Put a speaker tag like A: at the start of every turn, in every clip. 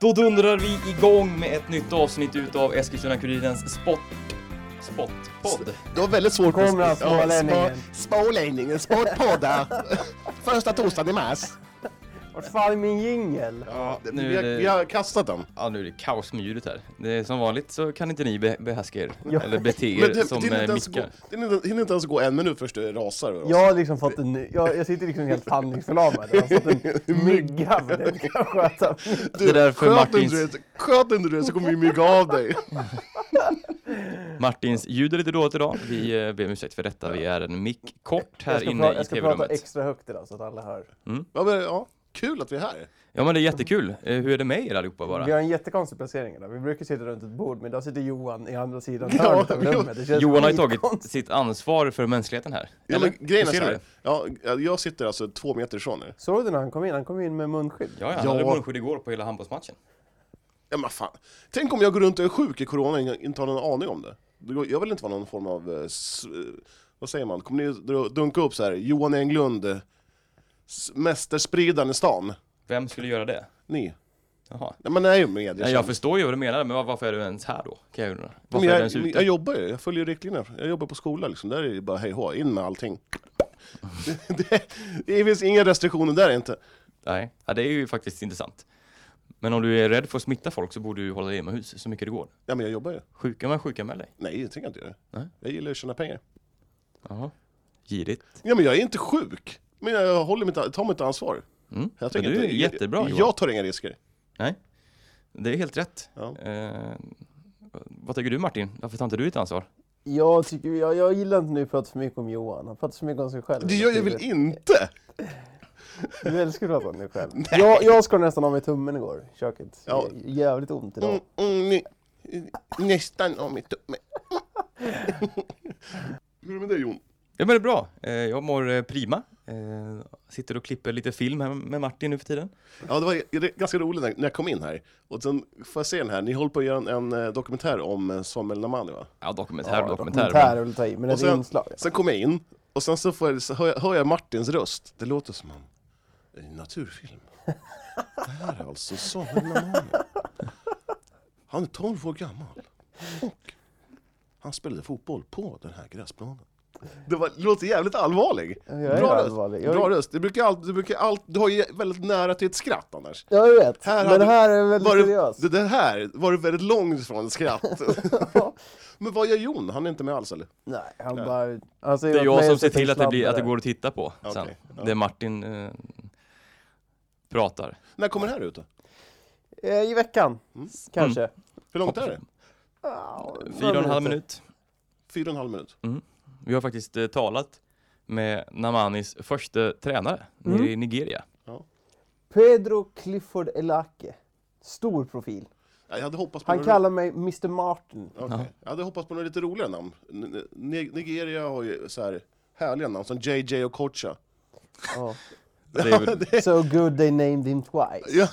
A: Då dundrar vi igång med ett nytt avsnitt utav Eskilstuna-Kurirens spot... Spot-podd.
B: Det var väldigt svårt
C: Kom då, smålänningen.
B: Smålänningen, sportpoddar. Första torsdagen i mars.
C: Vart fan är min jingel?
B: Ja, det,
A: nu
B: vi, har,
A: är det-
B: vi har kastat den.
A: Ja, nu är det kaos med ljudet här. Det är som vanligt så kan inte ni be- behärska er.
C: Ja.
A: Eller bete er
B: Men det,
A: som
B: det hinner
A: eh,
B: inte ens gå-
A: mickar.
B: det hinner inte- hinner inte ens gå en minut först det rasar över oss.
C: Jag har liksom fått en ny, jag, jag sitter liksom helt handlingsförlamad. Jag har fått en mygga för den kan sköta.
B: Du,
A: Det är därför
B: sköt
A: Martins-
B: inte du det- Sköt inte du det så kommer vi mygga av dig.
A: Martins ljud är lite dåligt idag. Vi eh, ber om ursäkt för detta. Vi är en mick kort
C: Jag
A: här
C: ska,
A: inne
C: pra-
A: i
C: jag ska prata
A: tv-rummet.
C: extra högt idag så att alla hör.
B: Ja, men, ja, kul att vi är här.
A: Ja, men det är jättekul. Eh, Hur är det med er allihopa bara?
C: Vi har en jättekonstig placering idag. Vi brukar sitta runt ett bord men idag sitter Johan i andra sidan
B: Ja,
C: hörnet av
B: jo.
C: rummet. Det känns
A: Johan har ju
C: skitkonstigt.
A: tagit sitt ansvar för mänskligheten här.
B: Ja, men,
A: Hur
B: grejen är så
A: ser du
B: här. Ja, jag sitter alltså två meter ifrån er.
C: Såg du när han kom in? Han kom in med munskydd.
A: Ja, ja, han
B: Ja.
A: hade munskydd igår på hela handbollsmatchen.
B: Ja, men fan. Tänk om jag går runt och är sjuk i corona och inte har någon aning om det. Det går- Jag vill inte vara någon form av, eh, s- eh, vad säger man, kommer ni dra- dunka upp så här, Johan Englund, eh, s- mästerspridaren i stan?
A: Vem skulle göra det?
B: Ni?
A: Jaha.
B: Nej men det är ju media.
A: Nej, jag förstår ju vad du menar, men var- varför är du ens här då? Kan jag undra. Varför
B: men
A: är du
B: jag,
A: ens
B: jag,
A: ute?
B: jobbar ju, jag följer riktlinjerna. Jag jobbar på skola liksom, där är det ju bara hej hå, in med allting. det, det, det finns inga restriktioner där inte.
A: Nej, ja, det är ju faktiskt intressant. Men om du är rädd för att smitta folk så borde du hålla dig inomhus så mycket det går.
B: Ja men jag jobbar ju.
A: Sjuka man sjuka med dig.
B: Nej, det tänker jag inte göra.
A: Nej.
B: Jag gillar att tjäna pengar.
A: Jaha. Girigt.
B: Ja men jag är inte sjuk, men jag håller mitt, tar mitt ansvar.
A: Mm.
B: Jag
A: Ja,
B: tänker
A: du är
B: inte-
A: jättebra
B: jag,
A: Johan.
B: jag tar inga risker.
A: Nej, det är helt rätt.
B: Ja.
A: Eh, vad tycker du Martin? Varför tar inte du ditt ansvar?
C: Jag, tycker, jag, jag gillar inte när du pratar för mycket om Johan. Han pratar så mycket om sig själv.
B: Det gör jag väl inte?
C: Du älskar att prata om dig själv. Jag, jag skar nästan av mig tummen igår i köket.
B: Ja.
C: J- Jävligt ont idag.
B: Mm, mm, nej. Nästan om mitt tumme. Hur är det med dig Jon?
A: Ja men det är bra. Eh, jag mår eh, prima. Eh, sitter och klipper lite film här med Martin nu för tiden.
B: Ja, det var ju- det är ganska roligt när när jag kom in här. Och sen får jag se den här, ni håller på att göra en, en eh, dokumentär om eh, Samuel Namani va?
A: Ja, dokumentär och dokumentär.
C: Dokumentär vill ta i, men
B: Och
C: det är inslag.
B: sen kom jag in, och sen så, får jag, så hör, jag, hör jag Martins röst. Det låter som en, en naturfilm. Det här är alltså Samuel Namani. Han är 12 år gammal. Och han spelade fotboll på den här gräsplanen. Det, var, det låter jävligt allvarlig.
C: Jag är
B: Bra
C: allvarlig.
B: röst.
C: Jag,
B: Bra röst. Du brukar allt, du brukar allt, du har ju väldigt nära till ett skratt annars.
C: jag vet,
B: Här
C: men
B: hade-
C: det här är väldigt
B: Var
C: seriöst.
B: det, det här var du väldigt långt ifrån ett skratt. Men vad gör Jon? Han är inte med alls eller?
C: Nej, han bara... Han säger
A: Det är
C: åt
A: jag
C: mig
A: som
C: att
A: ser
C: sätta en
A: till att det, blir, att det
C: sladdare.
A: går att titta på sen.
B: Okej, ja.
A: Det Martin eh, pratar.
B: När kommer det här ut då?
C: Eh, I veckan,
B: Mm.
C: kanske.
B: Hur långt är det?
C: Ah,
A: Mm. Fyra och en halv
C: minuter.
A: minut.
B: Fyra och en halv minut.
A: Mm. Vi har faktiskt eh, talat med Namanis första tränare nere i Nigeria.
C: Pedro Clifford Elake. Stor profil.
B: Ja, Jag hade hoppats på
C: Han kallar mig Mr Martin.
B: Okej. Jag hade hoppats på några lite roligare namn. N- N- Nigeria har ju så här härliga namn som JJ och Kocha.
C: Ja.
A: Det är väl,
C: So good they named him twice.
B: Ja,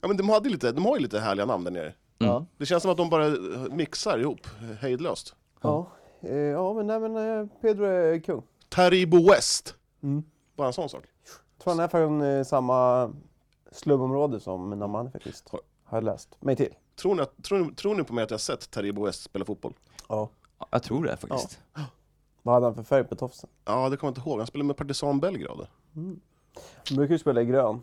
B: ja, men de, hade ju lite, de har ju lite härliga namn där
A: Mm.
B: nere.
C: Ja.
B: Det känns som att de bara eh, mixar ihop eh, hejdlöst.
C: Ja. Eh, ja, men, nej, men eh, Pedro är kung.
B: Taribo West.
C: Mm.
B: Bara en sån sak.
C: tror han är från eh, samma slumområde som Namani faktiskt.
B: Har-
C: Har jag läst mig till.
B: Tror ni, att, tror, ni- tror ni på mig att jag har sett Taribo West spela fotboll?
C: Ja.
A: jag tror det faktiskt.
C: Vad hade han för färg på tofsen?
B: Ja, det kommer jag inte ihåg. Han spelade med Partisan Belgrad.
C: Han brukar ju spela i grön.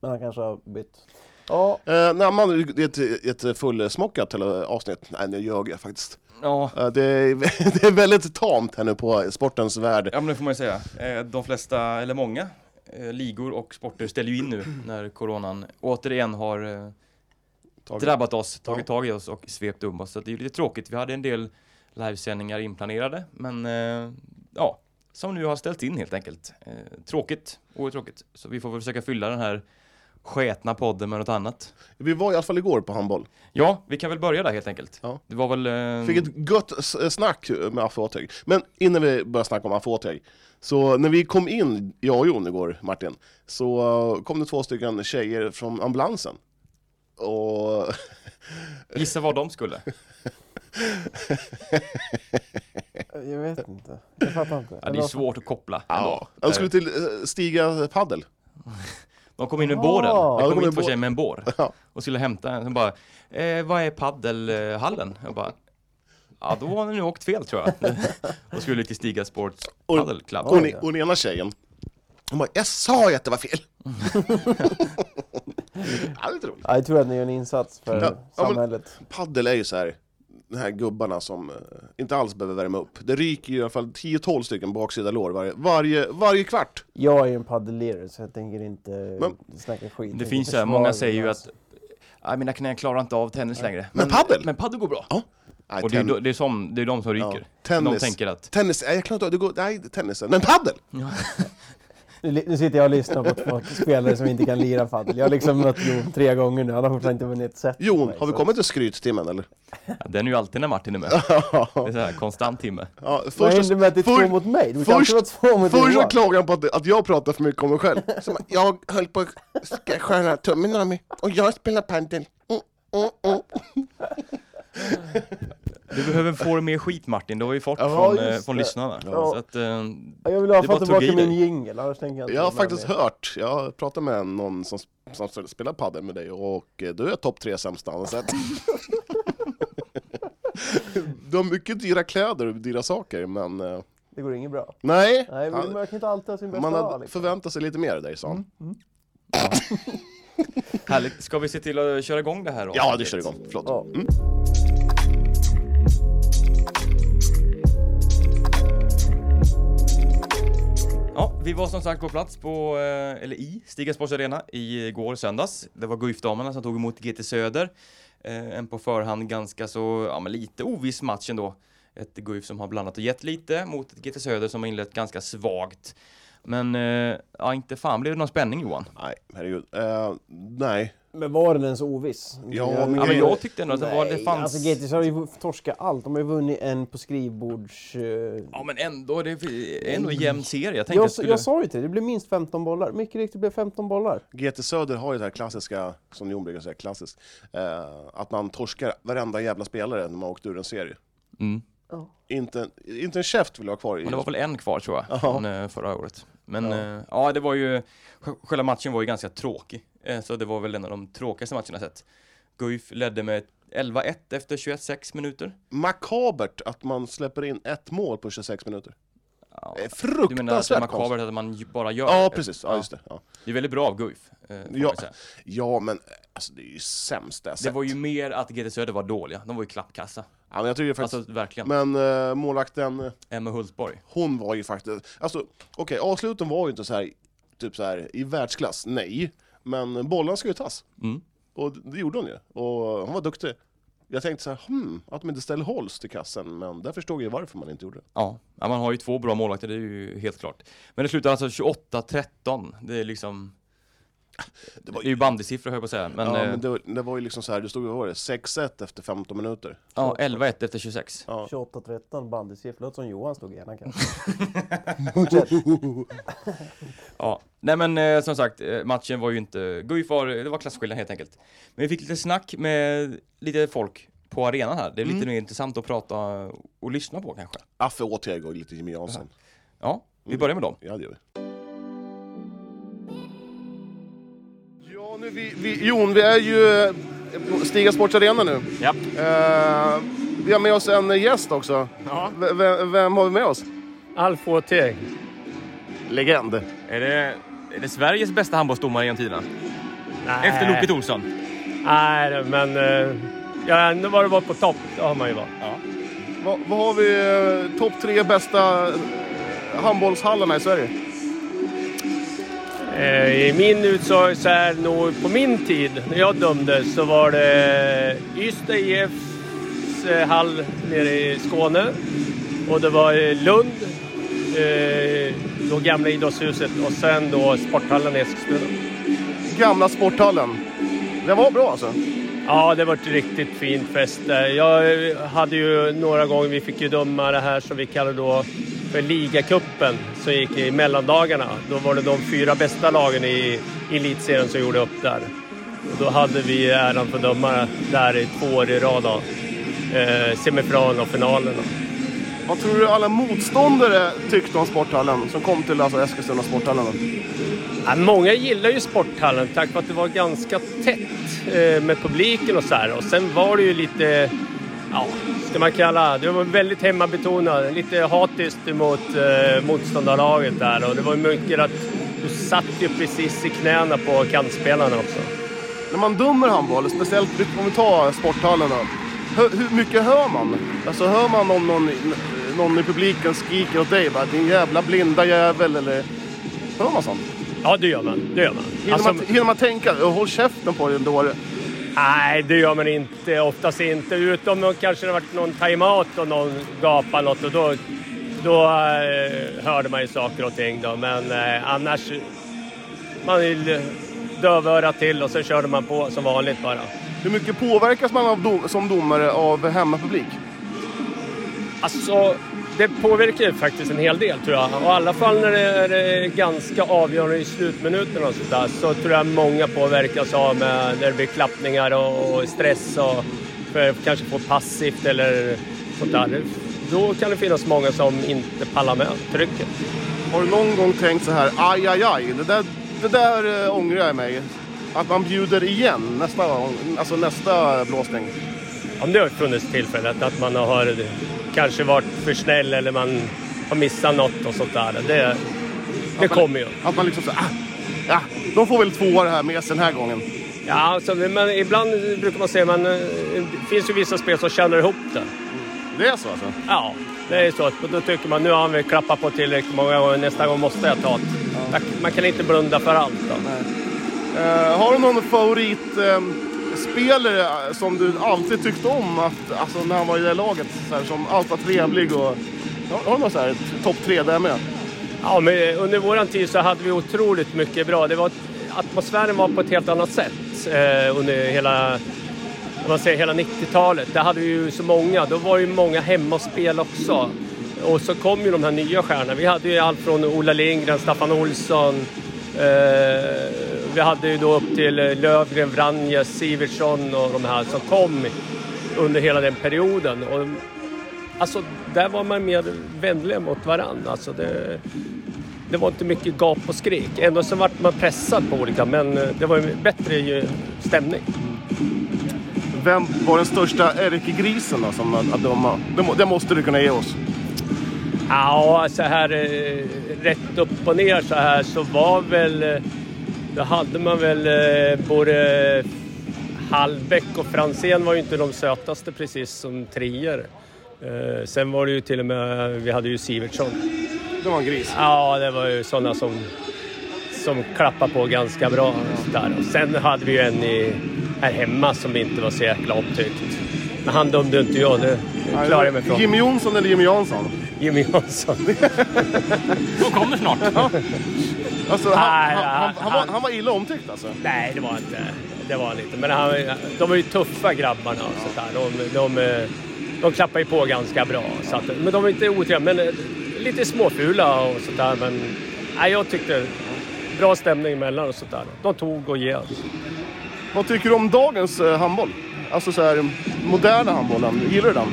C: Men han kanske har bytt. Ja,
B: Eh, nej, man, det är ett, ett fullsmockat hela avsnitt. Nej, nu ljög jag faktiskt.
A: Ja.
B: Eh, det, är, det är väldigt tamt här nu på sportens värld.
A: ja, men det får man ju säga. Eh, De flesta, eller många, eh, ligor och sporter ställer ju in nu när coronan återigen har eh,
B: Taget.
A: drabbat oss, tagit tag i oss och svept om oss. Så det är ju lite tråkigt. Vi hade en del livesändningar inplanerade, men eh, ja, som nu har ställt in helt enkelt. Eh, tråkigt, oerhört tråkigt. Så vi får väl försöka fylla den här sketna podden med något annat.
B: Vi var i alla fall igår på handboll.
A: Ja, vi kan väl börja där helt enkelt.
B: Ja.
A: Det var väl... Eh,
B: Fick ett gött s- snack med Affe Åteg. Men innan vi börjar snacka om Affe Åteg, så när vi kom in, jag och Jon igår, Martin, så eh, kom det två stycken tjejer från ambulansen. Och
A: Gissa vad de skulle.
C: Jag vet inte. Jag fattar inte.
A: Ja, det är svårt att koppla ändå.
B: Ja. Han skulle till eh, Stiga paddel.
A: De kom in med
C: Ah.
A: båren.
C: Ja,
B: de
A: Det kom
B: kom
A: in
B: med
A: två
B: bå-
A: tjejer med en bår.
B: Ja.
A: Och skulle hämta en. Sen bara, eh, vad är paddelhallen? Jag bara, ja då har ni nog åkt fel tror jag. och skulle till Stiga Sports
B: Och-
A: Paddle Club.
B: Och, ni, och den ena tjejen, hon bara, jag sa ju att det var fel. ja, det är lite roligt.
C: Ja, jag tror att ni gör en insats för
B: Ja, ja, men-
C: samhället.
B: Paddel är ju så här, de här gubbarna som eh, inte alls behöver värma upp. Det ryker ju i alla fall 10-12 stycken baksida lår varje, varje, varje kvart.
C: Jag är ju en paddelare så jag tänker inte
B: Men-
C: snacka skit.
A: Det
C: Tänker
A: finns så här,
C: försvara
A: många
C: mig,
A: säger ju att
C: alltså.
A: "Ah, mina knän klarar inte av tennis längre.
B: Men padel?
A: Men padel går bra.
B: Ja. Nej,
A: Och det är,
B: ten-
A: ju- det, är som, det är de som
B: ja.
A: ryker. De
B: Tennis.
A: tänker att
B: Tennis, nej jag klarar inte av det, går, nej tennis, men paddel!
C: Nu li- Nu sitter jag och lyssnar på två spelare som inte kan lira padel. Jag har liksom mött Jon tre gånger nu, han har fortfarande inte vunnit ett set.
B: Jon,
C: Nej,
B: har vi
C: så-
B: kommit till skryttimmen eller?
A: ja, den är ju alltid när Martin är med. Det är så här, konstant timme.
B: Ja, först
C: Vad händer med att det är
B: för-
C: två mot mig? Det brukar alltid vara två mot
B: först så
C: Johan.
B: klagar han på att, att jag pratar för mycket om mig själv. Så man, jag höll på att sk- skära tummen av mig och jag spelar padel. Mm, mm, mm.
A: Du behöver få mer skit Martin, det har vi fått
B: Ja,
A: från,
C: just
A: eh, från
C: det.
A: lyssnarna.
C: Ja.
A: Så att, eh,
C: Ja, Jag vill i alla
A: Det
C: fall
A: bara
C: tillbaka
A: tog i
C: min
A: dig.
C: jingel, annars tänker jag inte
B: Jag har
C: vara
B: faktiskt
C: med
B: hört, jag pratade med någon som, som spelar padel med dig och eh, du är topp tre sämsta han har sett. Du har mycket dyra kläder och dyra saker men eh,
C: mer. Det går inget bra.
B: nej,
C: Nej, men
B: han,
C: man kan inte alltid ha sin bästa Mm.
B: man
C: dag.
B: hade
C: Liksom.
B: förväntat sig lite mer av dig sa han.
A: Härligt. Ska vi se till att köra igång det här? då?
B: Ja, du kör igång, förlåt.
C: Ja.
B: Mm.
A: Ja, vi var som sagt på plats på, eh, eller i, Stiga Sports Arena igår söndags. Det var Guif-damerna som tog emot GT Söder. Eh, En på förhand ganska så, ja men lite oviss match ändå. Ett Guif som har blandat och gett lite mot ett GT Söder som har inlett ganska svagt. Men, eh, ja inte fan blev det någon spänning Johan.
B: Nej, herregud. Eh, nej,
C: Men var den ens oviss?
B: Ja, men-
A: Ja, men jag tyckte ändå att det, var,
C: Nej,
A: det fanns...
C: alltså GTS har ju torskat allt. De har ju vunnit en på skrivbords... eh,
A: Ja men ändå, det är ändå en jämn serie. Jag tänkte
C: Jag,
A: jag
C: s-
A: skulle...
C: jag sa ju till dig, det blev minst 15 bollar. Mycket riktigt det blev 15 bollar.
B: GT Söder har ju det här klassiska, som Jon brukar säga, klassiskt, eh, att man torskar varenda jävla spelare när man åkt ur en serie.
A: Mm.
B: Inte, inte en käft vill jag ha kvar i.
A: Men det var väl en kvar tror jag,
B: Ja.
A: från eh, förra året. Men
B: Ja.
A: ja. ja, det var ju, sj- själva matchen var ju ganska tråkig. Eh, Så det var väl en av de tråkigaste matcherna jag sett. Guif ledde med 11-1 efter 21-6 minuter.
B: Makabert att man släpper in ett mål på 26 minuter.
A: Ja.
B: Det är
A: Eh, Du menar att det är
B: fruktansvärt konstigt.
A: makabert att man ju bara gör
B: Ja,
A: ett-
B: precis. Ja, just det. Ja.
A: Det är väldigt bra av Guif. eh, får man
B: Ja,
A: ju säga.
B: ja, men alltså, det är ju sämst det jag
A: Det
B: sett.
A: var ju mer att GT Söder var dåliga. De var ju klappkassa.
B: ja, men jag tycker faktiskt...
A: Alltså verkligen.
B: Men eh, målvakten, eh,
A: Emma Hultborg.
B: hon var ju faktiskt... Alltså, okej, avsluten var ju inte så här, typ så här i världsklass, nej. Men bollen ska ju tas.
A: Mm.
B: Och det gjorde hon ju. Och hon var duktig. Jag tänkte så här, hmm, att de inte ställer Holst till kassen, men där förstod jag varför man inte gjorde det.
A: Ja. ja, man har ju två bra målvakter, det är ju helt klart. Men det slutar alltså 28-13. Det är liksom... Det,
B: var
A: är ju bandysiffror höll jag på att säga. Men,
B: ja,
A: eh,
B: men det, var- det var ju liksom så här, det stod ju, vad var det, 6-1 efter 15 minuter.
A: eh, Ja, 11-1 efter 26.
B: Ja.
C: 28-13 bandysiffror. Låter som Johan stod i ena kanten.
A: Ja. Nej men eh, som sagt, eh, matchen var ju inte... Guif var, det var klasskillnad helt enkelt. Men vi fick lite snack med lite folk på arenan här. Det är lite mer intressant att prata och lyssna på kanske.
B: Affe Åteg och lite Jimmy Jansson.
A: Ja, vi börjar med dem.
B: Ja, det gör vi. Ja, nu vi, vi, Jon, vi är ju eh, på Stiga Sports Arena nu.
A: Ja.
B: Eh, vi har med oss en gäst också.
D: Ja.
B: V- vem, vem har vi med oss?
D: Alf Åteg.
B: Legend.
A: Är det, är det Sveriges bästa handbollsdomare genom tiderna?
D: Nej.
A: Olsson.
D: Nej, men... eh, jag har ändå varit var på topp. Det har man ju varit.
B: Vad vad har vi eh, topp tre bästa eh, handbollshallarna i Sverige?
D: Eh, I min utsaga så är det nog på min tid, när jag dömdes, så var det Ystad IFs eh, hall nere i Skåne. Och det var eh, Lund, eh, då gamla idrottshuset och sen då sporthallen i Eskilstuna.
B: Gamla sporthallen. Den var bra alltså.
D: Ja, det var ett riktigt fint fest där. Jag eh, hade ju några gånger, vi fick ju döma det här som vi kallar då för ligacupen som gick i mellandagarna. Då var det de fyra bästa lagen i elitserien som gjorde upp där. Och då hade vi äran för döma där i två år i rad. Då. eh, semifinalen och finalerna.
B: Vad tror du alla motståndare tyckte om sporthallen som kom till alltså, Eskilstuna sporthallen? då?
D: Ja, många gillar ju sporthallen tack vare att det var ganska tätt eh, med publiken och så här. Och sen var det ju lite, ja, ska man kalla, det var väldigt hemmabetonat. Lite hatiskt mot eh, motståndarlaget där och det var ju mycket att du satt ju precis i knäna på kantspelarna också.
B: När man dömer handboll, speciellt om vi tar sporthallen då. Hör, hur mycket hör man? Alltså hör man om någon, i- någon i publiken skriker åt dig bara din jävla blinda jävel eller... Hör man sånt?
D: Ja, det gör man. Det gör man. Alltså,
B: Hinner,
C: Alltså-
B: man, hinner man tänka "Åh, håll käften på dig dåre?
D: Nej, det gör man inte. Oftast inte. Utom om kanske det varit någon timeout och någon gapar något och då, då eh, hörde man ju saker och ting då. Men eh, annars, man vill dövöra till och så körde man på som vanligt bara.
B: Hur mycket påverkas man av dom, som domare av hemmapublik?
D: Alltså, det påverkar ju faktiskt en hel del tror jag. Och i alla fall när det är eh, ganska avgörande i slutminuterna och sånt där, så tror jag många påverkas av med, när det blir klappningar och, och stress och för, kanske får passivt eller sånt där. Då kan det finnas många som inte pallar med trycket.
B: Har du någon gång tänkt så här, aj aj aj, det där, det där eh, ångrar jag mig. Att man bjuder igen nästa, gång, alltså nästa blåsning.
D: Om det har funnits tillfället att man har kanske varit för snäll eller man har missat något och sånt där. Det, det kommer ju.
B: Att man liksom så ah, ja, de får väl två det här med sig den här gången.
D: Ja, alltså, men ibland brukar man säga att det finns ju vissa spel som känner ihop det.
B: Det är så alltså?
D: Ja, det är så. att Då tycker man nu har vi klappat på tillräckligt många gånger, nästa gång måste jag ta det. Man- Man kan inte blunda för allt. Då.
B: Eh, har du någon favoritspelare eh, som du alltid tyckte om att, alltså, när han var i det här laget? Så här, som alltid var trevlig och... Har, har du någon så här topp tre där med?
D: Ja, men eh, under vår tid så hade vi otroligt mycket bra. Det var, atmosfären var på ett helt annat sätt eh, under hela, om man säger, hela 90-talet. Där hade vi ju så många. Då var ju många hemma och spel också. Och så kom ju de här nya stjärnorna. Vi hade ju allt från Ola Lindgren, Staffan Olsson. Eh, vi hade ju då upp till eh, Lövgren, Vranjes, Sivertsson och de här som kom under hela den perioden. Och Alltså, där var man mer vänliga mot varandra. Alltså, det, det var inte mycket gap och skrik. Ändå så vart man pressad på olika, men eh, det var ju bättre ju stämning.
B: Vem var den största ärkegrisen då, som att döma? Det, må- det måste du kunna ge oss.
D: Ja, så här eh, rätt upp och ner så här så var väl... eh, Då hade man väl eh, både Hallbäck och Franzén var ju inte de sötaste precis som trier. Eh, Sen var det ju till och med, vi hade ju Sivertsson.
B: Det var en gris.
D: Ja, det var ju sådana som, som klappade på ganska bra. Där. Och sen hade vi ju en i, här hemma som inte var så jäkla omtyckt. Men han dömde inte jag, det klarar jag mig från.
B: Jimmy Jonsson eller Jimmy Jansson?
D: Jimmy Jansson.
A: Då kommer snart.
B: Alltså, han,
D: Nej,
B: han, han, han,
D: han-
B: var, han var illa omtyckt alltså.
D: Nej, det var inte. Det var han inte. Men han, de var ju tuffa grabbarna. Och sånt där. De, de, eh, de klappade ju på ganska bra. Så att, men de var inte otrevliga. Men eh, lite småfula och sånt där. Men nej, jag tyckte bra stämning emellan och sånt där. De tog och gav.
B: Vad tycker du om dagens eh, handboll? Alltså så här, moderna handbollen. Gillar du den?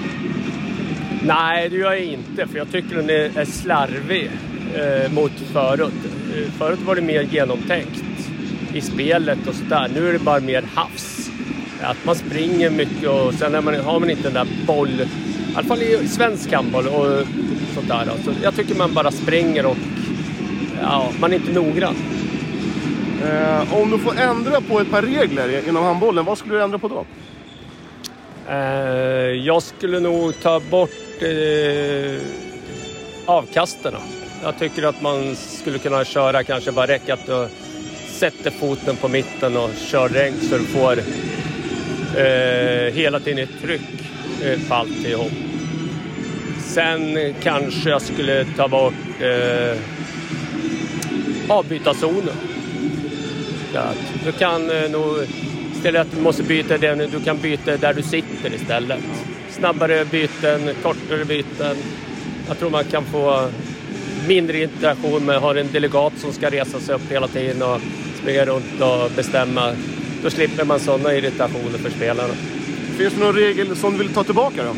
D: Nej, det gör jag inte, för jag tycker den är är slarvig eh, mot förut. Eh, Förut var det mer genomtänkt i spelet och sådär. Nu är det bara mer havs. Att man springer mycket och sen är man, har man inte den där boll... I alla fall i svensk handboll och sånt där. då. Så jag tycker man bara springer och ja, man är inte noggrann.
B: Eh, om du får ändra på ett par regler i- inom handbollen, vad skulle du ändra på då?
D: Eh, jag skulle nog ta bort eh, avkasterna. Jag tycker att man skulle kunna köra kanske bara räcka att du sätter foten på mitten och kör regn så du får eh, hela tiden ett tryck eh, på alltihop. Sen kanske jag skulle ta bort eh, avbytarzonen. Ja, Du kan eh, nog, istället att du måste byta den, du kan byta där du sitter istället. Snabbare byten, kortare byten. Jag tror man kan få mindre interaktion med har en delegat som ska resa sig upp hela tiden och springa runt och bestämma. Då slipper man sådana irritationer för spelarna.
E: Finns det någon regel som du vill ta tillbaka då?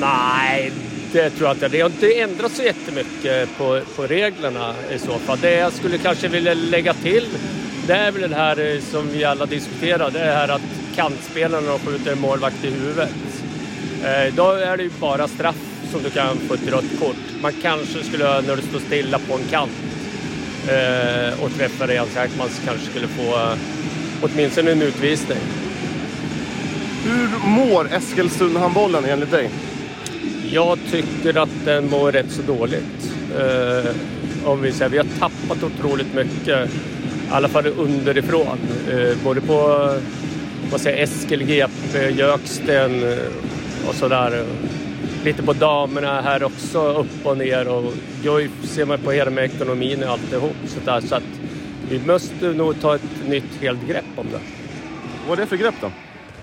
D: Nej, det tror jag inte. Det har inte ändrats så jättemycket på, på reglerna i så fall. Det jag skulle kanske vilja lägga till, det är väl det här eh, som vi alla diskuterar. Det är det här att kantspelarna de skjuter en målvakt i huvudet. Eh, Då är det ju bara straff som du kan få ett rött kort. Man kanske skulle, när du står stilla på en kant eh, och träffar Rehan man kanske skulle få eh, åtminstone en utvisning.
E: Hur mår Eskilstuna-handbollen enligt dig?
D: Jag tycker att den mår rätt så dåligt. Eh, om vi, säger, vi har tappat otroligt mycket, i alla fall underifrån. Eh, både på vad säger, jag, Eskil, GP, Jöksten eh, och sådär. Lite på damerna här också, upp och ner. Och jag ser man på hela med ekonomin och alltihop. Så, där, så att vi måste nog ta ett nytt helt grepp om det.
E: Vad är det för grepp då?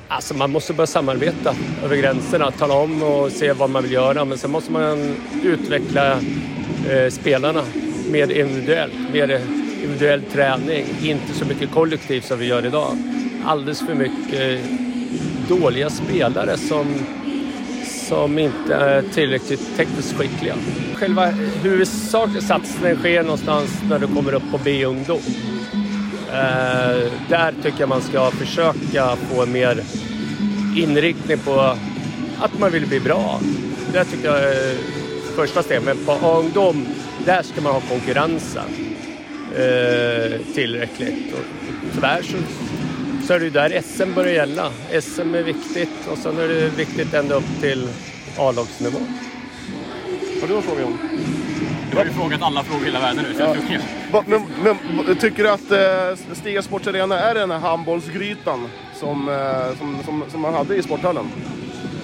D: Alltså man måste börja samarbeta över gränserna, tala om och se vad man vill göra. Men sen måste man utveckla eh, spelarna mer individuellt, mer individuell träning. Inte så mycket kollektiv som vi gör idag. Alldeles för mycket eh, dåliga spelare som, som inte är tillräckligt tekniskt skickliga. Själva huvudsakliga satsningen sker någonstans när du kommer upp på B-ungdom. Eh, där tycker jag man ska försöka få mer inriktning på att man vill bli bra. Det tycker jag är första steget. Men på ungdom, där ska man ha konkurrensen eh, tillräckligt. Och tyvärr så, så är det ju där SM börjar gälla. SM är viktigt och sen är det viktigt ända upp till A-lagsnivå.
E: Har du någon fråga om?
F: Du har ju frågat alla frågor i hela världen nu. Så jag tror jag.
E: Va, men, men, va- tycker du att eh, Stiga Sports Arena är den här handbollsgrytan som, eh, som, som, som man hade i sporthallen?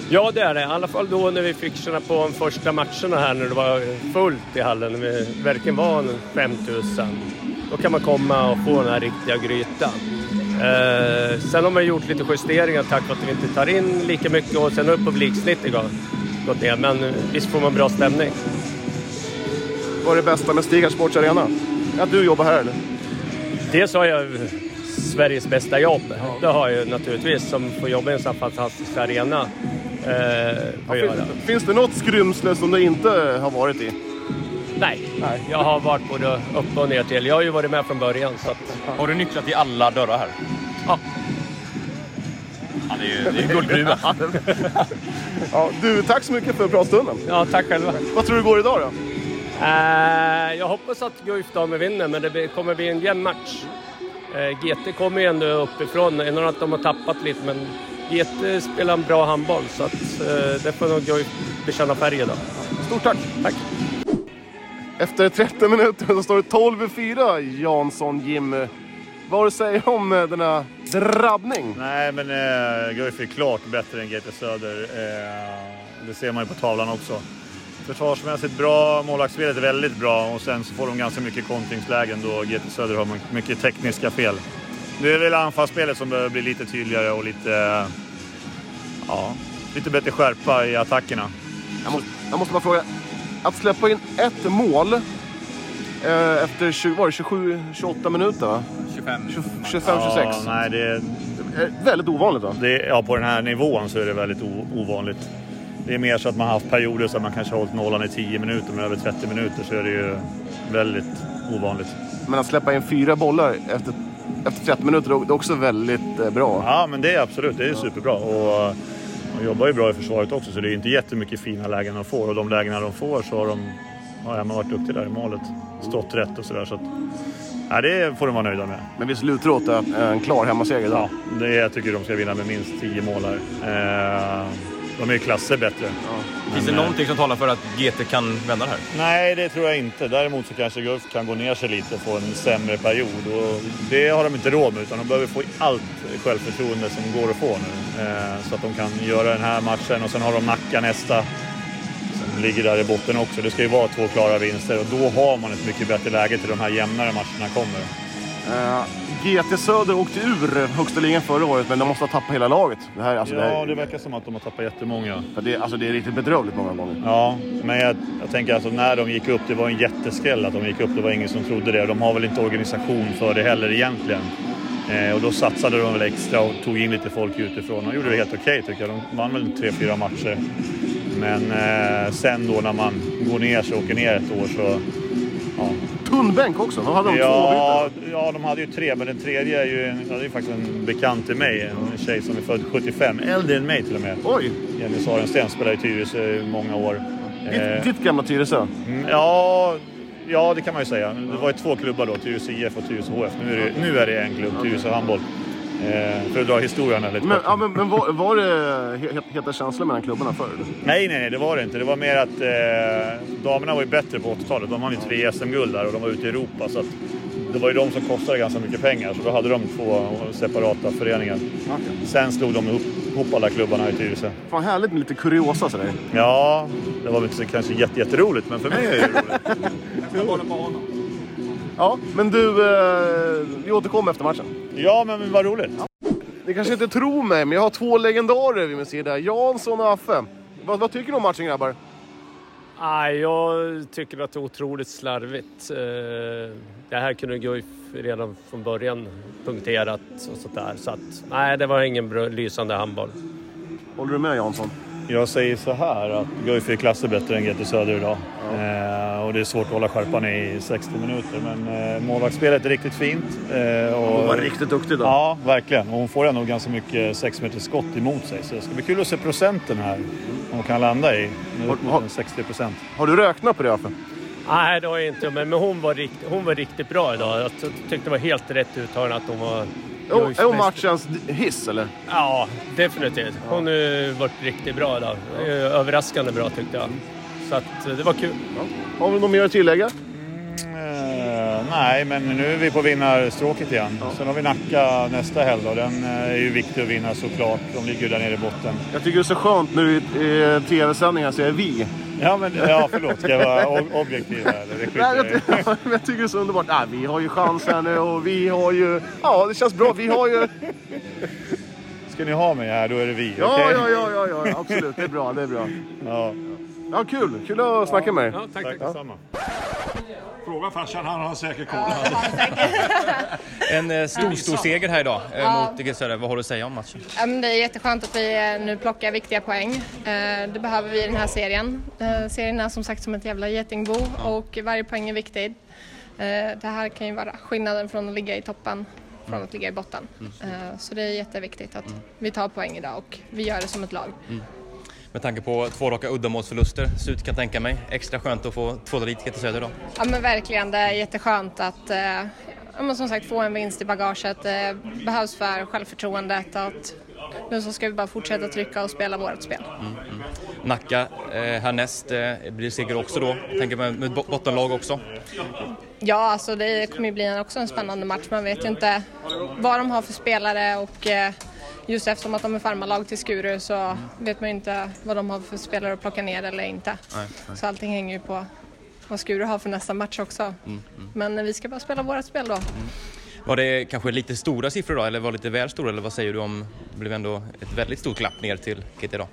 D: Ja, det är det. I alla fall då när vi fick känna på de första matcherna här när det var fullt i hallen. När vi verkligen var en 5000. Då kan man komma och få den här riktiga grytan. Eh, sen har man gjort lite justeringar tack vare att vi inte tar in lika mycket och sen har publiksnittet gått- gått ner. Men eh, visst får man bra stämning.
E: Vad är det bästa med Stiga Sports Arena? Att du jobbar här eller?
D: Dels har jag Sveriges bästa jobb. Det har jag ju naturligtvis som får jobba i en sån fantastisk arena. Eh, att göra.
E: Fin, finns det något skrymsle som du inte har varit i?
D: Nej, jag har varit både upp och ner till. Jag har ju varit med från början så att...
F: Har du nycklat i alla dörrar här?
D: Ja.
F: Ja, det är ju det är ju guldgruva.
E: Ja, du, tack så mycket för pratstunden.
D: Ja, tack själva.
E: Vad tror du går idag då?
D: Eh, jag hoppas att Guif Dame vinner, men det blir- kommer bli en jämn match. Eh, GT kommer ju ändå uppifrån, även om att de har tappat lite, men GT spelar en bra handboll så att eh, det får nog Guif bekänna färg idag.
E: Stort tack!
D: Tack!
E: Efter 30 minuter så står det 12-4 Jansson Jimmy. Vad har du att säga om eh, denna drabbning?
G: Nej, men eh, Guif är klart bättre än GP Söder. Eh, det ser man ju på tavlan också. Försvarsmässigt bra, målvaktsspelet är väldigt bra och sen så får de ganska mycket kontringslägen då GP Söder har mycket tekniska fel. Det är väl anfallsspelet som behöver bli lite tydligare och lite, eh, ja, lite bättre skärpa i attackerna.
E: Jag måste, jag måste bara fråga. Att släppa in ett mål eh, efter 20, var det 27, 28 minuter va?
F: 25.
E: 25-26.
G: Ja, nej, det,
E: Eh, Väldigt ovanligt va?
G: det, ja, på den här nivån så är det väldigt o- ovanligt. Det är mer så att man har haft perioder så att man kanske har hållit nollan i 10 minuter, men över 30 minuter så är det ju väldigt ovanligt.
E: Men att släppa in fyra bollar efter, efter 30 minuter det är också väldigt eh, bra.
G: Ja, men det är absolut, det är superbra. Och eh, de jobbar ju bra i försvaret också, så det är inte jättemycket fina lägen de får. Och de lägena de får så har de har ja, man varit duktig där i målet. Stått rätt och sådär. Så att, ja, det får de vara nöjda med.
E: Men visst lutar det åt en- en klar hemmaseger idag?
G: Ja, det jag tycker de ska vinna med minst 10 mål här. Eh, de är ju klasser bättre.
F: Finns det någonting som talar för att GT kan vända det här?
G: Nej, det tror jag inte. Däremot så kanske Guif kan gå ner sig lite och få en sämre period. Och det har de inte råd med, utan de behöver få allt självförtroende som går att få nu. Eh, så att de kan göra den här matchen och sen har de Nacka nästa. Som ligger där i botten också. Det ska ju vara två klara vinster och då har man ett mycket bättre läge till de här jämnare matcherna kommer.
E: Eh, GT Söder åkte ur högsta ligan förra året, men de måste ha tappat hela laget. Det här, alltså, det,
G: Ja,
E: här,
G: det verkar som att de har tappat jättemånga.
E: för det, alltså, det är riktigt bedrövligt många gånger.
G: Ja, men jag, jag tänker alltså när de gick upp, det var en jätteskräll att de gick upp. Det var ingen som trodde det. De har väl inte organisation för det heller egentligen. Eh, och då satsade de väl extra och tog in lite folk utifrån. De gjorde det helt okej tycker jag. De vann väl tre, fyra matcher. Men eh, sen då när man går ner sig, åker ner ett år så... Ja,
E: Tunn bänk också. Då hade de
G: ja,
E: två
G: ja, de hade ju tre, men den tredje är ju, en, ja, det är faktiskt en bekant till mig. En tjej som är född 75, äldre än mig till och med.
E: byten. Oj!
G: Jenny Sarensten spelade i Tyresö i många år. Eh,
E: Ditt, ditt gamla Tyresö.
G: Mm, Ja, ja, det kan man ju säga. Det var ju två klubbar då, Tyresö IF och Tyresö HF. Nu är det, nu är det en klubb, Tyresö Handboll. Eh, för att dra historien här lite
E: Men,
G: kort.
E: ja, men, men var, var det he- he- heta känslor mellan klubbarna förr?
G: Nej, nej, nej, det var det inte. Det var mer att eh, damerna var ju bättre på 80-talet. De vann ju tre SM-guld där och de var ute i Europa. Så att det var ju de som kostade ganska mycket pengar, så då hade de två separata föreningar. Sen slog de ihop, ihop alla klubbarna i Tyresö.
E: Fan härligt med lite kuriosa sådär.
G: Ja, det var väl inte så kanske jätte- jätteroligt, men för mig är det ju roligt.
E: Ja, men du, eh, vi återkommer efter matchen.
G: Ja, men vad roligt.
E: Ni kanske inte tror mig, men jag har två legendarer vid min sida. Jansson och Affe. Vad, vad tycker ni om matchen grabbar?
D: Nej, jag tycker att det är otroligt slarvigt. Eh, Det här kunde Guif redan från början punkterat och sånt där. Så att, nej, det var ingen bra, lysande handboll.
E: Håller du med Jansson?
G: Jag säger så här att Guif är klasser bättre än GT Söder idag. Eh, och det är svårt att hålla skärpan i 60 minuter. Men eh, målvaktsspelet är riktigt fint. Eh, och,
E: Hon var riktigt duktig då.
G: Ja, verkligen. Och hon får ändå ganska mycket 6 meter skott emot sig. Så det ska bli kul att se procenten här. Om hon kan landa i nu är det upp mot en 60 procent.
E: Har du räknat på det Affe?
D: Nej, det har jag inte. Men men hon var, rikt, hon var riktigt bra idag. Jag ty- tyckte det var helt rätt uttalande att hon var...
E: Jo,
D: Guifs
E: är hon
D: bästa.
E: matchens hiss eller?
D: Ja, definitivt. Hon har varit riktigt bra idag. Eh, Överraskande bra tyckte jag. Så att, eh, det var kul.
E: Har vi något mer att tillägga?
G: Eh, nej, men nu är vi på vinnarstråket igen. Sen har vi Nacka nästa helg och den eh, är ju viktig att vinna såklart. De ligger ju där nere i botten.
E: Jag tycker det är så skönt nu i, i tv-sändningar så är vi.
G: Ja, men ja, förlåt. Ska jag vara ob- objektiv här? eller? Det skiter
E: Nej,
G: jag
E: jag,
G: i.
E: ty- men jag tycker det är så underbart. Nej, vi har ju chans här nu och vi har ju... Ja, det känns bra. Vi har ju...
G: Ska ni ha mig här, då är det vi.
E: Ja,
G: okej?
E: ja, ja, ja, ja, absolut. Det är bra, det är bra.
G: ja.
E: Ja, kul. Kul att snacka med dig.
D: Ja, tack,
G: Tack
D: tack.
G: detsamma.
H: Fråga farsan, han har säkert koll.
F: En eh, stor, stor seger här idag eh, mot GT Söder. Vad har du att säga om matchen?
I: Ja, men det är jätteskönt att vi eh, nu plockar viktiga poäng. Eh, Det behöver vi i den här serien. Eh, Serien är som sagt som ett jävla getingbo och varje poäng är viktig. Eh, Det här kan ju vara skillnaden från att ligga i toppen från att ligga i botten. Eh, Så det är jätteviktigt att vi tar poäng idag och vi gör det som ett lag.
F: Med tanke på två raka uddamålsförluster, slut kan jag tänka mig. Extra skönt att få tvåla dit GT Söder idag.
I: Ja men verkligen, det är jätteskönt att eh, ja, men som sagt få en vinst i bagaget. Det behövs för självförtroendet att nu så ska vi bara fortsätta trycka och spela vårt spel.
F: Nacka eh, härnäst eh, blir seger också då. Tänker med, med bo- bottenlag också.
I: Ja, alltså det kommer ju bli en, också en spännande match. Man vet ju inte vad de har för spelare och eh, just eftersom att de är farmarlag till Skuru så vet man ju inte vad de har för spelare att plocka ner eller inte. Så allting hänger ju på vad Skuru har för nästa match också. Men eh, vi ska bara spela vårt spel då.
F: Var det kanske lite stora siffror då, eller var det lite väl stora? Eller vad säger du om det blev ändå ett väldigt stort klapp ner till GT idag?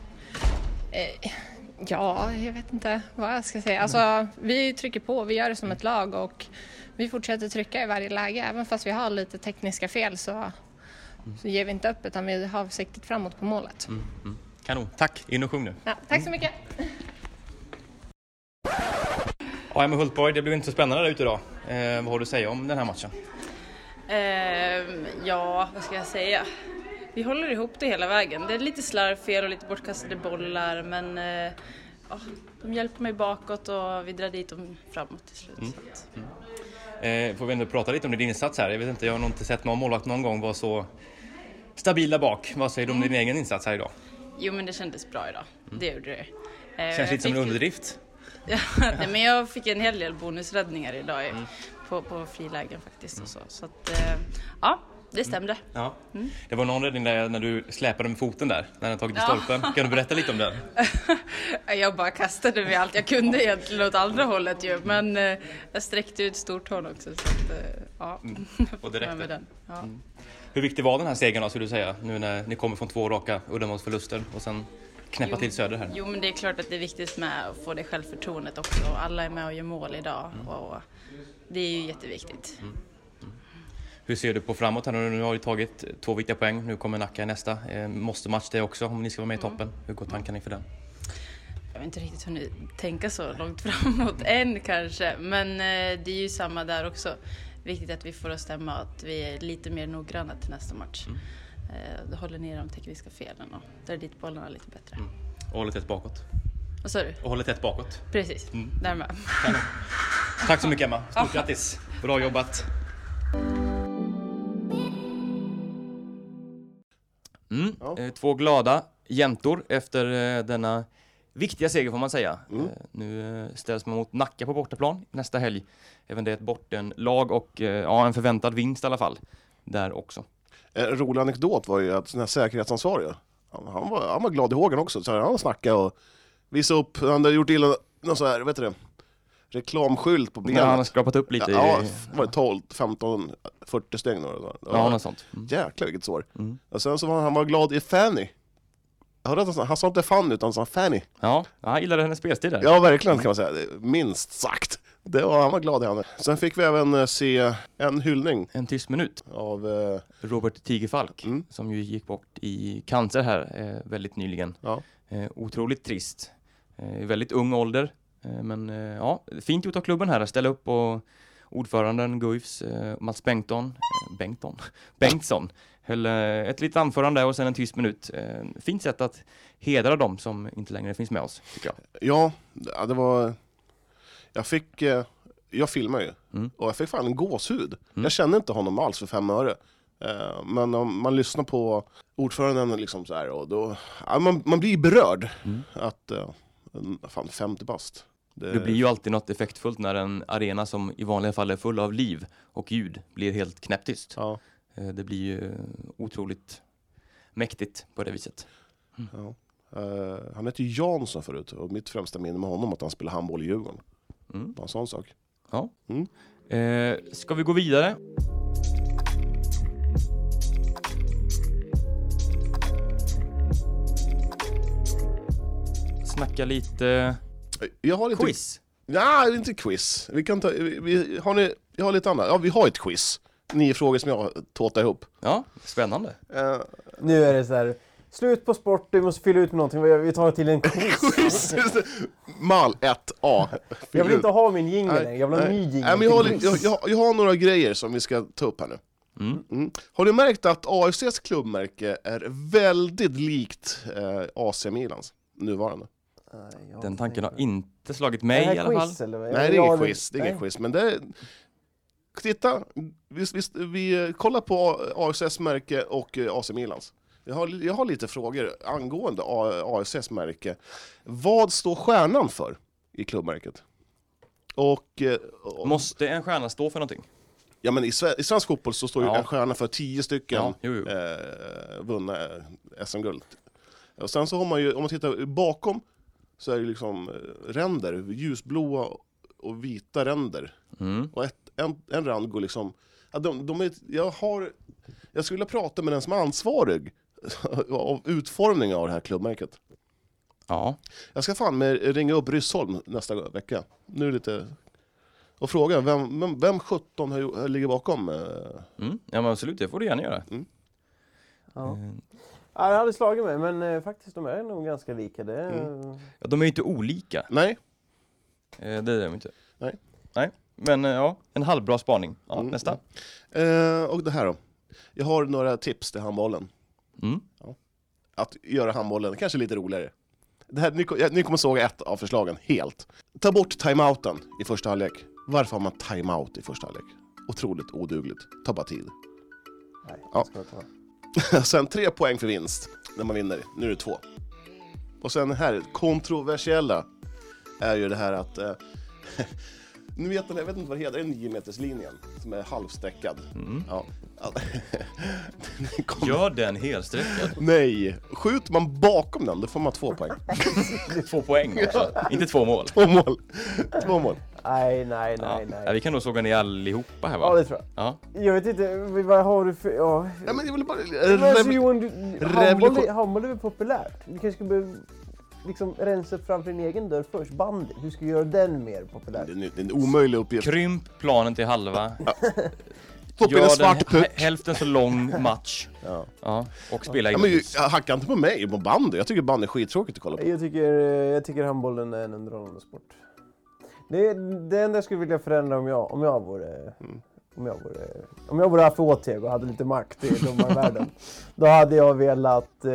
I: Ja, jag vet inte vad jag ska säga. Alltså, vi trycker på, vi gör det som ett lag och vi fortsätter trycka i varje läge. Även fast vi har lite tekniska fel så, så ger vi inte upp utan vi har siktet framåt på målet.
F: Kanon. Tack! In och sjung nu.
I: Ja, tack så mycket.
F: Ja, Emma Hultborg, det blev inte så spännande där ute idag. Eh, vad har du att säga om den här matchen?
J: Ehm, ja, vad ska jag säga? Vi håller ihop det hela vägen. Det är lite slarvfel och lite bortkastade bollar men eh, ja, de hjälper mig bakåt och vi drar dit dem framåt till slut.
F: Mm.
J: Så att,
F: Eh, får vi ändå prata lite om din insats här? Jag vet inte, jag har nog inte sett någon målvakt någon gång vara så stabil där bak. Vad säger du om din egen insats här idag?
J: Jo men det kändes bra idag, det gjorde det. Eh, jag
F: Mm. Känns lite som en
J: fick-
F: underdrift.
J: Ja, nej, men jag fick en hel del bonusräddningar idag
F: Mm.
J: eh, på, på frilägen faktiskt. Och så så att, eh, ja, det stämde.
F: Ja. Det var någon räddning där när du släpade med foten där, när den tagit i
J: Mm. Ja.
F: stolpen. Kan du berätta lite om den?
J: Jag bara kastade mig allt jag kunde egentligen åt andra hållet ju, men eh, jag sträckte ut stortån också. Så att, eh, ja.
F: Mm. Och det
J: Med
F: räckte. Mm.
J: den. Ja.
F: Hur viktig var den här segern då, skulle du säga? Nu när ni kommer från två raka uddamålsförluster och sen knäppa
J: Jo.
F: till Söder här.
J: Jo, men det är klart att det är viktigt med att få det självförtroendet också.
F: Mm.
J: Alla är med och gör mål idag och det är ju jätteviktigt.
F: Hur ser du på framåt här nu? Nu har du tagit två viktiga poäng. Nu kommer Nacka i nästa. Eh, måste match det också om ni ska vara med
J: Mm.
F: i toppen. Hur går tankarna inför den?
J: Jag har inte riktigt hunnit tänka så långt framåt än kanske, men eh, det är ju samma där också. Viktigt att vi får att stämma att vi är lite mer noggranna till nästa match. Eh, Då håller ner de tekniska felen och drar dit bollarna lite bättre.
F: Och håller tätt bakåt.
J: Vad sa du?
F: Och håller tätt bakåt.
J: Precis, där med.
F: Tack så mycket Emma. Stort grattis. Bra jobbat.
A: Mm. Eh, Två glada jäntor efter eh, denna viktiga seger får man säga.
B: Mm.
A: Eh, Nu eh, ställs man mot Nacka på bortaplan nästa helg. Även det är ett bortenlag och eh, ja, en förväntad vinst i alla fall. Där också.
B: En Eh, rolig anekdot var ju att den här säkerhetsansvarige, han, han, var, han var glad i hågen också. Så här, han snackade och visade upp, han hade gjort illa någon så här, vet du det, reklamskylt på benet.
A: Ja, han har skrapat upp lite i-
B: Ja, ja var det 12, 15, 40 stygn? eller något sånt.
A: Ja, Mm. något sånt. Mm.
B: Jäklar vilket sår. Och sen så var han, han var glad i Fanny. Jag hörde att han, sa- han sa inte Fanny utan han sa Fanny.
A: Ja, han gillade hennes spelstil där.
B: Ja, verkligen kan man säga. Minst sagt. Det var, han var glad i henne. Sen fick vi även eh, se en hyllning.
A: En tyst minut.
B: Av... Eh, mm.
A: Robert Tigerfalk som ju gick bort i cancer här eh, väldigt nyligen. Eh, otroligt trist. Eh, i väldigt ung ålder. Eh, men eh, ja, fint gjort av klubben här att ställa upp och ordföranden Guifs, eh, Mats Bengtsson, eh, Bengtsson, Bengtsson höll eh, ett litet anförande och sen en tyst minut. Eh, fint sätt att hedra dem som inte längre finns med oss, tycker jag.
B: Ja, ja, det var... Jag fick... eh, Jag filmar ju.
A: Mm.
B: Och jag fick fan en gåshud. Jag kände inte honom alls för fem öre. Eh, Men om man lyssnar på ordföranden liksom så här, och då... ja, Man, man blir ju berörd.
A: Mm.
B: Att... eh, en- Fan, 50 bast. Det-
A: Det blir ju alltid något effektfullt när en arena som i vanliga fall är full av liv och ljud blir helt knäpptyst. Eh, Det blir ju otroligt mäktigt på det viset.
B: Ja. Eh, han hette ju Jansson förut och mitt främsta minne med honom är att han spelade handboll i Djurgården.
A: Mm.
B: Bara en sån sak.
A: Ja. Eh, ska vi gå vidare? Snacka lite
B: jag har lite...
A: quiz.
B: Nej, det är inte quiz. Vi kan ta... Vi, vi, har ni, jag har lite annat. Ja, vi har ett quiz. Nio frågor som jag tåtar ihop.
A: Ja, spännande.
C: Nu är det så här, slut på sport, vi måste fylla ut med någonting. Vi- Vi tar till en quiz.
B: Mall 1A.
C: jag vill inte ha min jingle
B: Nej,
C: längre, jag vill ha en ny
B: nej.
C: jingle.
B: Nej, men jag, har,
C: till
B: li- jag,
C: quiz.
B: jag, jag har några grejer som vi ska ta upp här nu. Mm. Har ni märkt att AFCs klubbmärke är väldigt likt eh, AC Milans nuvarande?
A: Den tanken har inte slagit mig
C: Är det här
A: i alla fall.
C: quiz, eller vad?
B: Nej, det är ingen
C: Ja,
B: quiz. Det är ingen
C: nej.
B: quiz. Men det är... Titta, vi, vi, vi eh, kollar på A- AFCs märke och eh, AC Milans. Jag har, jag har lite frågor angående A- AFCs märke. Vad står stjärnan för i klubbmärket? Och, eh, och,
A: Måste en stjärna stå för någonting?
B: ja, men i, sve, I svensk fotboll så står ju
A: Ja.
B: en stjärna för tio stycken
A: Ja, jo, jo.
B: eh, vunna eh, SM-guld. Och sen så har man ju, om man tittar bakom, så är det liksom eh, ränder, ljusblåa och vita ränder.
A: Mm.
B: Och ett, en, en rand går liksom... Ja, de, de är, jag, har, jag skulle vilja prata med den som är ansvarig av utformningen av det här klubbmärket.
A: Ja.
B: Jag ska fan med ringa upp Ryssholm nästa vecka. Nu är det lite... Och fråga, vem, vem, vem 17 har, ju- ligger bakom? eh,
A: Mm. ja, men absolut, det får du gärna göra.
C: Ja.
A: Eh,
C: Ja, det hade slagit mig, men eh, faktiskt de är nog ganska lika. Det är,
A: Ja, de är ju inte olika.
B: Nej,
A: Eh, det är de inte.
B: Nej.
A: Nej, men eh, ja, en halvbra spaning. Ja,
C: Mm.
A: Nästa.
B: Eh, och det här då. Jag har några tips till handbollen.
A: Mm.
B: Ja. Att göra handbollen kanske lite roligare. Det här, ni, ko- ja, ni kommer såga ett av förslagen helt. Ta bort timeouten i första halvlek. Varför har man timeout i första halvlek? Otroligt odugligt. Ta bara tid.
C: Nej,
B: Ja.
C: det ska jag ta.
B: sen tre poäng för vinst när man vinner. Nu är det två. Och sen det här kontroversiella är ju det här att... Eh, nu vet jag, jag vet inte vad det heter, det är 9 meterslinjen som är halvsträckad. Ja. Det kommer-
A: Gör den helsträckad.
B: Nej, skjuter man bakom den då får man två poäng.
A: Två poäng också. Inte två mål.
B: Två mål. Två mål.
C: Nej, nej,
A: Ja.
C: nej,
A: Ja,
C: nej.
A: vi kan nog såga ner allihopa här va?
C: Ja, det tror jag.
A: Ja.
C: Jag vet inte, vad har du för... Ja.
B: Nej, men jag ville bara...
C: Men alltså,
B: Rev...
C: Johan, du, handboll, är- handboll är väl populärt? Du kanske ska behöva liksom rensa upp framför din egen dörr först. Bandy, hur ska du göra den mer populär?
B: Det är en- det är en omöjlig uppgift.
A: Krymp planen till halva.
B: Stoppa in en svart
A: den,
B: puck.
A: hä- hälften så lång match.
B: Ja.
A: Ja, och spela
B: Ja, men ju-
A: inomhus.
B: ja, hacka inte på mig på bandy. Jag tycker bandy är skittråkigt att kolla på.
C: Jag tycker, eh, jag tycker handbollen är en underhållande sport. Det, det enda jag skulle vilja förändra om jag, om jag vore...
B: Mm.
C: Om jag vore, om jag vore AFO-TV och hade lite makt i domarvärlden. då hade jag velat eh,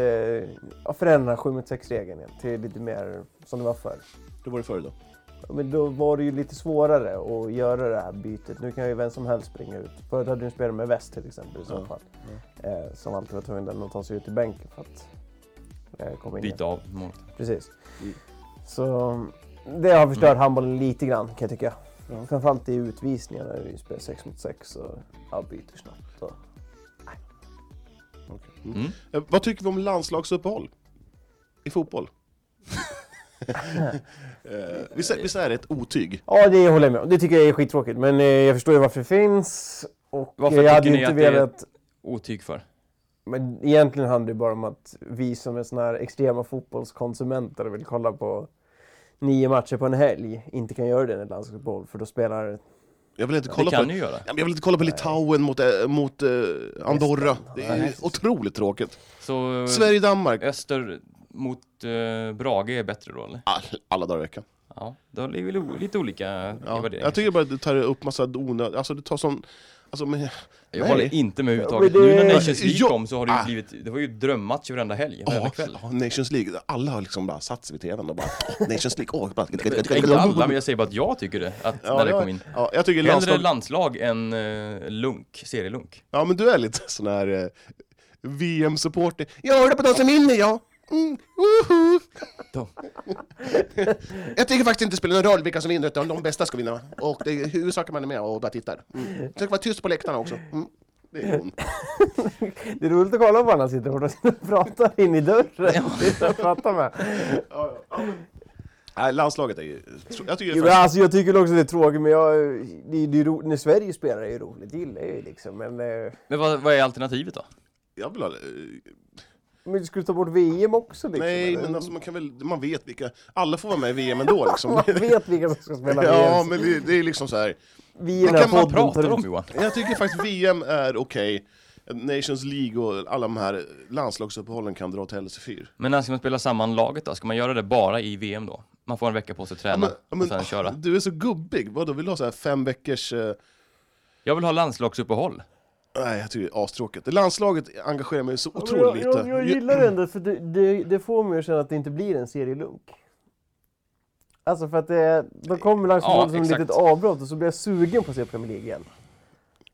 C: ja, förändra 7 mot 6-regeln igen till lite mer som det var förr.
B: Det var det förr då.
C: Men då var det ju lite svårare att göra det här bytet. Nu kan ju vem som helst springa ut. Förut hade du en spelare med väst till exempel i så
B: Ja,
C: fall. Eh, som alltid var tvungen att ta sig ut i bänken för att eh, komma in. igen.
A: Byta av målet.
C: Precis.
A: Mm.
C: Så det har förstört handbollen lite grann kan jag tycka.
B: Ja.
C: Framförallt i utvisningarna när vi spelar 6 mot 6 och ja, byter snabbt. Och...
B: Okej. Mm. Eh, Vad tycker vi om landslagsuppehåll? I fotboll? eh, visst, är- visst är det ett otyg?
C: Ja, det håller jag med om. Det tycker jag är skittråkigt. Men eh, jag förstår ju varför det finns. Och
A: Varför
C: jag hade
A: tycker
C: ju
A: ni
C: inte
A: att det är-
C: velat...
A: Otyg för.
C: Men egentligen handlar det bara om att vi som är såna här extrema fotbollskonsumenter och vill kolla på nio matcher på en helg inte kan göra det när landslagsboll för då spelar
B: Jag vill inte
A: Det
B: kolla på
A: kan ni göra.
B: Ja, men Jag vill inte kolla på Litauen mot, eh, mot eh, Andorra. Det är
C: Nej.
B: otroligt tråkigt.
A: Så eh,
B: Sverige-Danmark.
A: Öster mot eh, Brage är bättre då eller?
B: All, alla dagar i veckan.
A: Ja, då är vi o- lite olika i
B: Ja.
A: värderingar.
B: Jag tycker bara att du tar upp massa onödigt, alltså du tar sån... Alltså, men,
A: Jag
B: nej.
A: håller inte med överhuvudtaget.
C: Ja, men det-
A: Nu när Nations League
B: Jag-
A: kom så har det ju
B: Ah.
A: blivit, det var ju drömmatch varenda helg, varenda
B: Ja,
A: kväll.
B: ja, Nations League, alla har liksom bara satt sig vid tvn och bara Nations League, åh, bara...
A: Inte alla, men jag säger bara att jag tycker det, att
B: Ja,
A: när det
B: jag-
A: kom in.
B: Ja, jag tycker
A: Hellre
B: landslag...
A: landslag än eh, lunk, serielunk.
B: Ja, men du är lite sån här eh, VM-supporter. Jag håller på de som vinner, ja! Mm, woho!
A: De.
B: jag tycker faktiskt inte det spelar någon roll vilka som vinner, utan de bästa ska vinna. Och det är huvudsaken man är med och bara tittar. Mm. Det ska vara tyst på läktarna också. Mm. Det är hon.
C: Det är roligt att kolla på när han sitter och de sitter och pratar in i dörren. Det är så jag pratar med.
B: Nej, landslaget är ju... Jag tycker det
C: Jo,
B: är
C: men
B: faktiskt...
C: alltså, jag tycker också det är tråkigt men jag, det, det är ro, när Sverige spelar är det roligt, det gillar jag ju liksom. Men, eh,
A: Men vad, vad är alternativet då?
B: Jag vill ha... eh,
C: men ska du ta bort VM också liksom?
B: Nej,
C: eller?
B: men alltså man kan väl... Man vet vilka... Alla får vara med i VM ändå liksom.
C: Man vet vilka som ska spela
B: ja,
C: VM.
B: men det, det är liksom så här...
C: Vi i den
B: det
C: här
B: kan man
C: podden
A: Pratar
C: tar
A: om
C: ut...
A: Johan?
B: Jag tycker faktiskt VM är okej. Nations League och alla de här landslagsuppehållen kan dra åt helsike fyr.
A: Men när ska man spela samman laget då? Ska man göra det bara i VM då? Man får en vecka på sig att
B: Ja,
A: träna
B: men- ja,
A: och
B: men,
A: sen köra.
B: Du är så gubbig, vadå vill du ha så här fem veckors... eh,
A: Jag vill ha landslagsuppehåll.
B: Nej, jag tycker det är astråkigt. Landslaget engagerar mig så
C: Ja, men jag,
B: otroligt eh,
C: jag, jag
B: lite.
C: gillar det ändå för det, det, det får mig att känna att det inte blir en serielunk. Alltså för att det, då kommer landslaget som ett
A: exakt.
C: litet avbrott och så blir jag sugen på att se Premier League igen.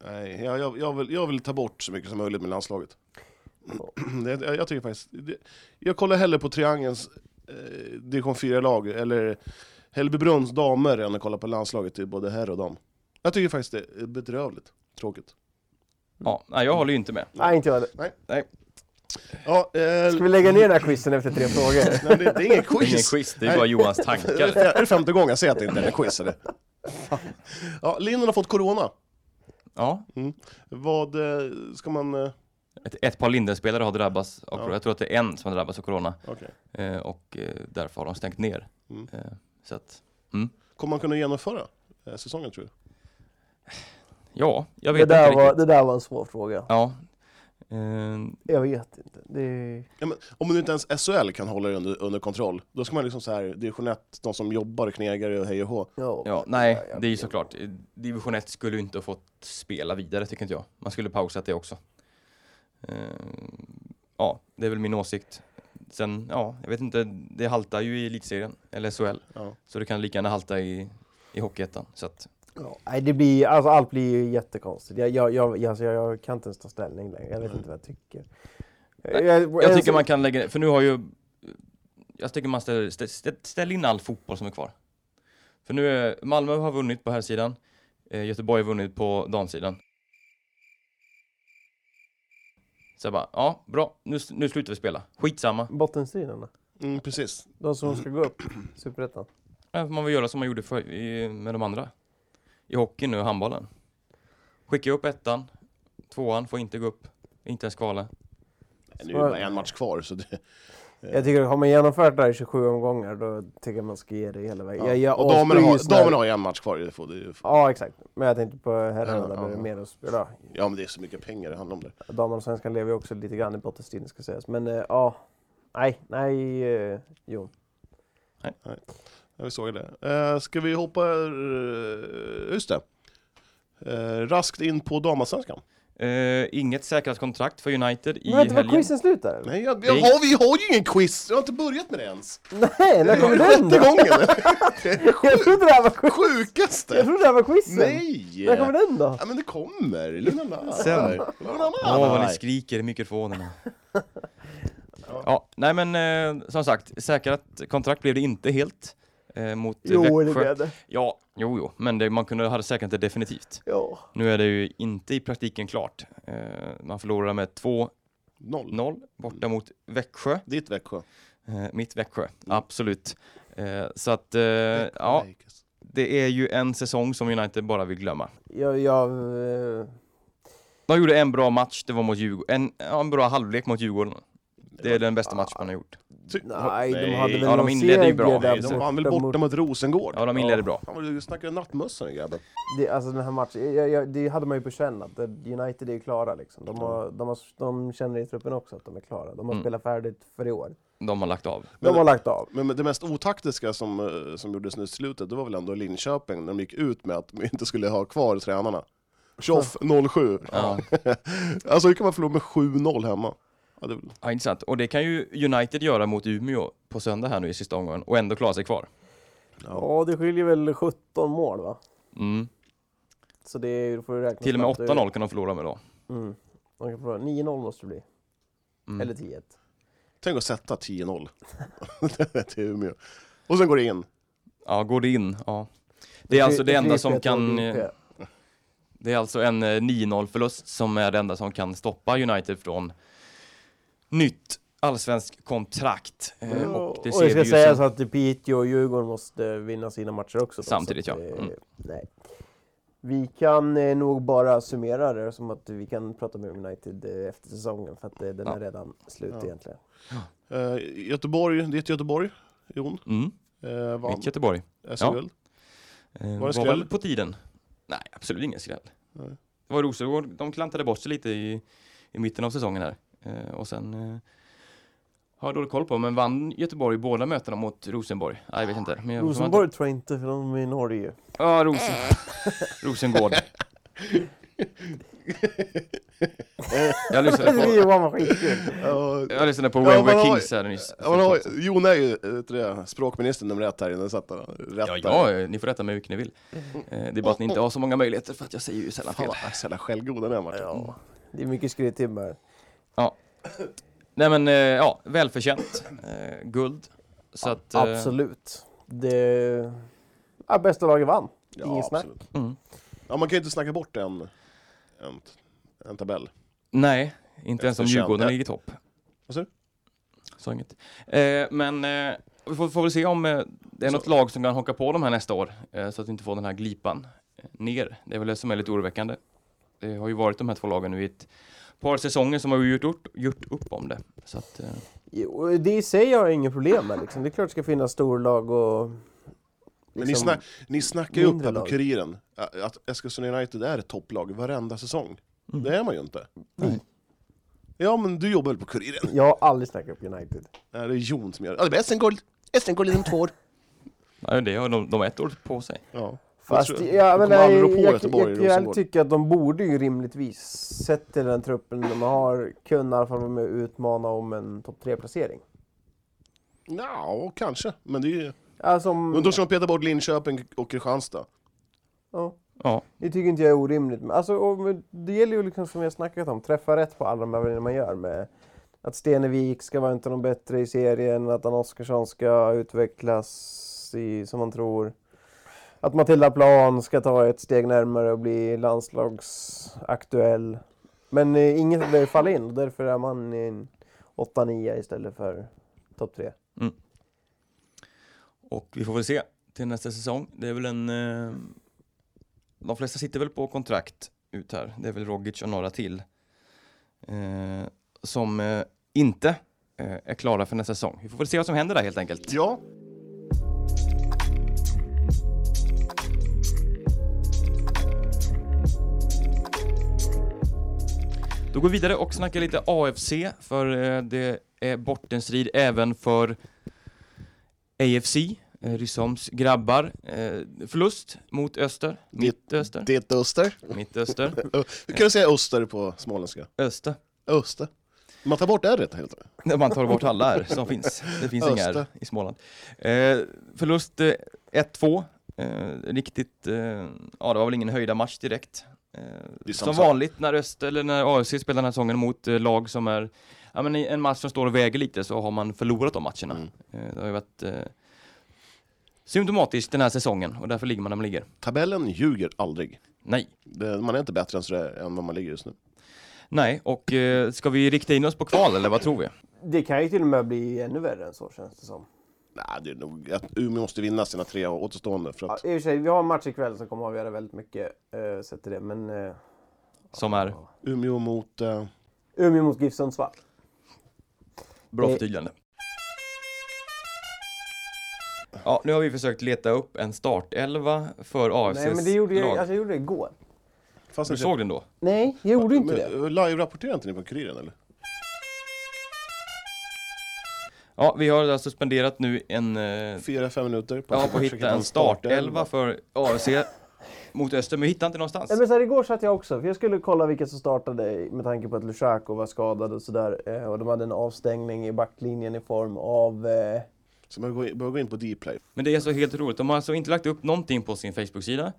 B: Nej, jag, jag, jag, vill, jag vill ta bort så mycket som möjligt med landslaget. Det, jag, jag tycker faktiskt... Det, jag kollar hellre på Triangelns eh, division 4-lag, eller Hällbybrunns damer, än att kolla på landslaget till både herr och dam. Jag tycker faktiskt det är bedrövligt. Tråkigt.
A: Ja, nej, jag håller ju inte med.
C: Nej, inte jag heller.
B: Ja, eh,
C: Ska vi lägga ner den här quizen efter tre frågor?
B: Nej, men det, det är ingen
A: Det är
B: quiz.
A: ingen quiz, det är
B: Nej.
A: bara Johans
B: Det
A: tankar.
B: är det femte gången jag säger att det inte är en quiz. Eller? Ja, Linden har fått corona.
A: Ja,
B: Vad eh, ska man... eh,
A: ett, ett par Lindenspelare har drabbats av
B: Ja.
A: corona. Jag tror att det är en som har drabbats av corona
B: Okej.
A: eh, och eh, därför har de stängt ner.
B: Mm.
A: Eh, så att,
B: Kommer man kunna genomföra eh, säsongen tror du?
A: ja, jag
C: Det
A: vet inte
C: där, var,
A: riktigt.
C: det där var en svår fråga.
A: Ja. Eh,
C: Jag vet inte. Det är...
B: Ja, men, om nu inte ens SHL kan hålla det under, under kontroll, då ska man liksom så här, division 1, de som jobbar, knegare och hej och hå.
C: Ja.
A: ja, nej, det är ju såklart. eh, Division 1 skulle ju inte ha fått spela vidare, tycker inte jag. Man skulle pausat det också. Eh, ja, det är väl min åsikt. Sen, ja, jag vet inte, det haltar ju i elitserien, eller SHL.
B: Ja.
A: Så det kan lika gärna halta i, i Hockeyettan. Så att,
C: Ja, Nej, det blir, alltså, allt blir ju jättekonstigt. Jag, jag, jag, alltså, jag, jag kan inte ens ta ställning längre. Jag
B: Mm.
C: vet inte vad jag tycker.
A: Nej, Jag tycker man kan lägga för nu har ju... Jag tycker man ställer, stä- stä- ställ in all fotboll som är kvar. För nu är, Malmö har vunnit på här sidan. Eh, Göteborg har vunnit på damsidan. Så jag bara, ja, bra, nu, s- nu slutar vi spela. Skitsamma.
C: Bottenstriderna.
B: Mm, precis.
C: De som ska gå upp. Superettan.
A: Ja, får Man vill göra som man gjorde för, i, med de andra. I hockeyn nu, och handbollen. Skicka upp ettan, tvåan får inte gå upp, inte ens kvala.
B: Nu är det bara en match kvar, så det,
C: Jag tycker har man genomfört det här i 27 omgångar då tycker jag man ska ge det hela vägen. Jag, jag
B: och damerna har,
C: avskyr ju
B: damerna har ju en match kvar. Det får, det är ju,
C: Ja exakt, men jag tänkte på herrarna där
B: Ja, ja.
C: det är mer att spela.
B: ja, men det är så mycket pengar det handlar om. Det.
C: Damerna och svenskan lever ju också lite grann i bottenstriden ska sägas. Men eh, ja, nej, nej eh, Jon.
B: Ja, vi såg det. Eh, ska vi hoppa... eh, just det. Eh, raskt in på damallsvenskan.
A: Eh, inget säkrat kontrakt för United i
C: Men vänta, var
A: helgen.
C: quizen slut där? eller?
B: Nej, jag,
A: Det-
B: jag har, vi har ju ingen quiz! Jag har inte börjat med det ens.
C: Nej, när kommer
B: Det är
C: den
B: sjätte
C: då?
B: gången!
C: Jag trodde det här var quiz. Jag
B: Sjukaste!
C: trodde det här var quizen.
B: Nej!
C: När kommer den då?
B: Ja, men det kommer! Lugna ner
A: Sen.
B: Lugna
A: Åh,
B: ner
A: vad ni
B: dig.
A: skriker i mikrofonerna. ja, nej men eh, som sagt, säkrat kontrakt blev det inte helt eh, mot eh,
C: Jo, det
A: Växjö.
C: blev det.
A: Ja, jo, jo, men det, man kunde ha säkrat det definitivt.
C: Ja.
A: Nu är det ju inte i praktiken klart. Eh, man förlorar med 2-0
B: Noll.
A: borta mot Växjö.
B: Ditt Växjö.
A: Eh, mitt Växjö, absolut. Eh, så att, eh, ja,
B: Lakers.
A: det är ju en säsong som United bara vill glömma.
C: Jag, jag, eh,
A: De gjorde en bra match, det var mot Djurgården. En, ja, en bra halvlek mot Djurgården. Det är den bästa match man har gjort.
B: Ty-
C: nej, de
B: Nej.
C: hade väl
A: Ja, de
C: någon
A: inledde ju
C: seger
A: bra.
C: där
A: Nej,
B: De vann väl borta mot Rosengård?
A: Ja, de inledde bra.
B: Fan vad du snackar nattmössan grabben.
C: Det, alltså den här matchen, jag, jag, det hade man ju på känn att det- United är ju klara liksom. De,
A: Mm.
C: har, de, har, de känner i truppen också att de är klara. De har spelat färdigt för i år.
A: De har lagt av.
C: De har lagt av.
B: Men men det mest otaktiska som, eh, som gjordes nu i slutet, det var väl ändå Linköping när de gick ut med att de inte skulle ha kvar tränarna. Tjoff 07.
A: Ja.
B: alltså hur kan man förlora med 7-0 hemma? Ja, det är väl...
A: Ja, intressant. Och det kan ju United göra mot Umeå på söndag här nu i sista omgången och ändå klara sig kvar.
C: Ja, det skiljer väl 17 mål va?
A: Mm.
C: Så det är, du får ju räkna
A: Till och med
C: snabbt. Det är-
A: 8-0 kan de förlora med då.
C: Mm. Man kan förlora. 9-0 måste det bli.
A: Mm.
C: Eller 10-1.
B: Tänk att sätta 10-0 till Umeå. Och sen går det in.
A: Ja, går det in? Ja. Det är alltså det enda som kan... eh, Det är alltså en eh, 9-0 förlust som är det enda som kan stoppa United från nytt allsvensk kontrakt. Eh, Och det
C: Mm. och det
A: ser
C: ska
A: vi ju
C: sägas
A: som,
C: att Piteå och Djurgården måste vinna sina matcher också. då,
A: Samtidigt,
C: så att,
A: ja.
C: eh,
A: Mm.
C: Nej. Vi kan eh, nog bara summera det som att vi kan prata mer om United eh, efter säsongen för att eh, den
A: Ja.
C: är redan slut
B: Ja.
C: egentligen.
B: Eh, Göteborg, det är ett Göteborg, Jon.
A: mm,
B: Eh, vann
A: mitt Göteborg.
B: SM-guld.
A: Eh,
B: Var
A: var,
B: det skräll?
A: väl på tiden? Nej, absolut ingen skräll.
B: Nej.
A: Det var Rosengård, de klantade bort sig lite i, i mitten av säsongen här. Eh, och sen eh, har jag dålig koll på, men vann Göteborg båda mötena mot Rosenborg? Nej, jag vet inte. Men jag
C: Rosenborg tror jag inte, för de är i Norge.
A: Ja, Rosen... Rosengård. jag, lyssnade
C: Det
A: på,
C: Johan var skitkul!
B: Ja,
A: jag lyssnade på
B: Ja,
A: When
B: men
A: We're
B: har-
A: Kings här nyss.
B: Eh, Ja, men, har- Jon är ju eh, tror jag, språkminister nummer ett här inne, så att eh, han rätt
A: Ja,
B: där.
A: ja, ni får rätta mig hur mycket ni vill. Eh, Det är bara att ni inte har så många möjligheter för att jag säger ju sällan
B: Fan
A: fel.
B: vad så jävla självgod den är Martin.
C: Ja, det är mycket skryttimmar.
A: Nej men eh, ja, välförtjänt eh, guld. Så att, eh,
C: Absolut. Det... Ja, bästa laget vann.
B: Ja,
C: Inget snack.
B: absolut.
A: Mm.
B: Ja, man kan ju inte snacka bort en, en, en tabell.
A: Nej, inte ens om
B: Eftersom-
A: Djurgården
B: Ja.
A: ligger i topp.
B: Vad sa du?
A: Sa inget. Eh, men eh, vi får, får väl se om eh, det är något lag som kan haka på de här nästa år, eh, så att vi inte får den här glipan eh, ner. Det är väl det som är lite oroväckande. Det har ju varit de här två lagen nu i ett par säsonger som har gjort, gjort, gjort upp om det. Så att, eh,
C: Jo, Det i sig har jag inga problem med. Liksom. Det är klart det ska finnas storlag och...
B: Men
C: liksom-
B: ni, snack, ni snackar ju upp
C: mindre
B: här på
C: lag.
B: Kuriren ä- att Eskilstuna United är ett topplag varenda säsong. Det är man ju inte. Mm.
C: Nej.
B: Ja, men du jobbar väl på Kuriren?
C: Jag har aldrig snackat upp United.
B: Nej, det är Jon som gör det. Ja, det blir SM-guld! SM-guld inom två år.
A: nej, det har de, de har ett år på sig.
B: Ja.
C: Fast
B: Jag tror-
C: ja, men
B: de kommer
C: nej,
B: aldrig rå
C: jag,
B: på
C: jag,
B: Göteborg
C: jag,
B: och
C: jag,
B: Rosengård.
C: tycker att de borde ju rimligtvis, sett till den truppen de har, kunna i alla fall vara med och utmana om en topp 3-placering.
B: Ja, kanske. Men det är ju...
C: Alltså, om-
B: Men då ska man peta bort Linköping och Kristianstad.
C: ja,
A: Ja,
C: det tycker inte jag är orimligt. Men Alltså, och, men det gäller ju liksom som vi har snackat om, träffa rätt på alla de här grejerna man gör. Med att Stenevik ska vara inte någon bättre i serien, att Dan Oskarsson ska utvecklas i, som man tror. Att Matilda Plan ska ta ett steg närmare och bli landslagsaktuell. Men eh, inget av det faller in och därför är man i en 8-9 istället för topp 3.
A: och vi får väl se till nästa säsong. Det är väl en... Eh, de flesta sitter väl på kontrakt ut här. Det är väl Rogic och några till. Eh, som eh, inte eh, är klara för nästa säsong. Vi får väl se vad som händer där helt enkelt.
E: Ja.
A: Då går vi vidare och snackar lite AFC, för eh, det är bortenstrid även för AFC, eh, Ryssholms grabbar. Eh, Förlust mot Öster, Mittöster,
B: Det är ett öster.
A: Mittöster,
B: Hur kan du säga öster på småländska?
A: Öster.
B: Öster. Man tar bort r helt enkelt.
A: När man tar bort alla R som finns. Det finns inga R
B: Öster.
A: i Småland. Eh, förlust eh, 1-2. Eh, riktigt, eh, ja det var väl ingen höjda match direkt. Eh,
B: är
A: som
B: samma sak.
A: vanligt när Öst, eller när AFC spelar den här säsongen mot eh, lag som är, ja men i en match som står och väger lite så har man förlorat de matcherna.
B: Mm.
A: Eh, det har ju varit eh, symptomatiskt den här säsongen och därför ligger man där man ligger.
B: Tabellen ljuger aldrig.
A: Nej.
B: Det, man är inte bättre än, sådär, än vad man ligger just nu.
A: Nej, och eh, ska vi rikta in oss på kval eller vad tror vi?
C: Det kan ju till och med bli ännu värre än så känns det som.
B: Nej, det är nog att Umeå måste vinna sina tre återstående för
C: Ja,
B: att
C: I och för sig, vi har en match ikväll som kommer avgöra väldigt mycket eh, sett till det, men eh,
A: Som är
B: Umeå mot... Eh,
C: Umeå mot GIF Sundsvall.
A: Bra
C: Eh.
A: förtydligande. Ja, nu har vi försökt leta upp en startelva för AFCs
C: Nej, men det gjorde jag,
A: lag.
C: alltså, jag gjorde det igår.
B: fanns
A: Du
B: inte-
A: såg den då?
C: Nej, jag gjorde inte
B: Men,
C: det.
B: eh, Live-rapporterar inte ni på Kuriren eller?
A: Ja, vi har alltså spenderat nu en... Eh,
B: Fyra, fem minuter på
A: ja, på att
B: försöka
A: hitta en startelva för AFC mot Öster, men vi hittar inte någonstans.
C: Nej, men så här, igår satt jag också, för jag skulle kolla vilka som startade med tanke på att Lushako var skadad och sådär. Eh, och de hade en avstängning i backlinjen i form av... Eh,
B: Så man går in- börjar gå in på Dplay.
A: Men det är så helt roligt. De har alltså inte lagt upp någonting på sin Facebook-sida.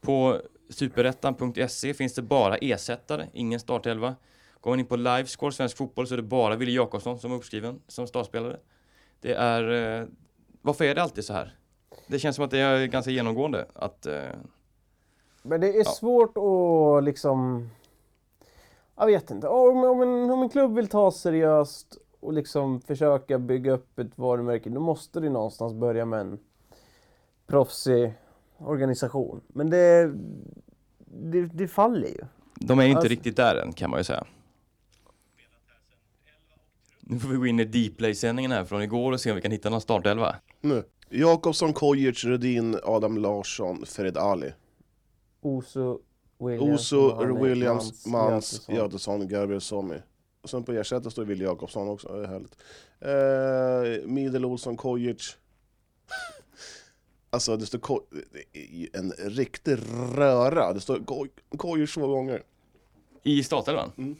A: På superettan.se finns det bara ersättare, ingen startelva. Går man in på Livescore, Svensk Fotboll, så är det bara Wille Jakobsson som är uppskriven som startspelare. Det är... Eh, varför är det alltid så här? Det känns som att det är ganska genomgående att... Eh,
C: Men det är svårt att liksom... Jag vet inte. Om, om, en, om en klubb vill ta seriöst och liksom försöka bygga upp ett varumärke, då måste det någonstans börja med en proffsig organisation. Men det, det, det faller ju.
A: de är ju inte
C: Alltså-
A: riktigt där än, kan man ju säga. Nu får vi gå in i Dplay-sändningen här från igår och se om vi kan hitta någon startelva.
B: Nu. Jakobsson, Kojic, Rudin, Adam Larsson, Fred Ali.
C: Oso, Williams,
B: Oso,
C: Mohamed,
B: Williams, Mans,
C: Götesson.
B: Götesson, Gabriel Sommi. Och sen på ersättare står Wille Jakobsson också, det är härligt. Eh, Midel Olsson, Kojic. Alltså det står Ko- det är ju en riktig röra. Det står Ko- Kojic två gånger.
A: I startelvan?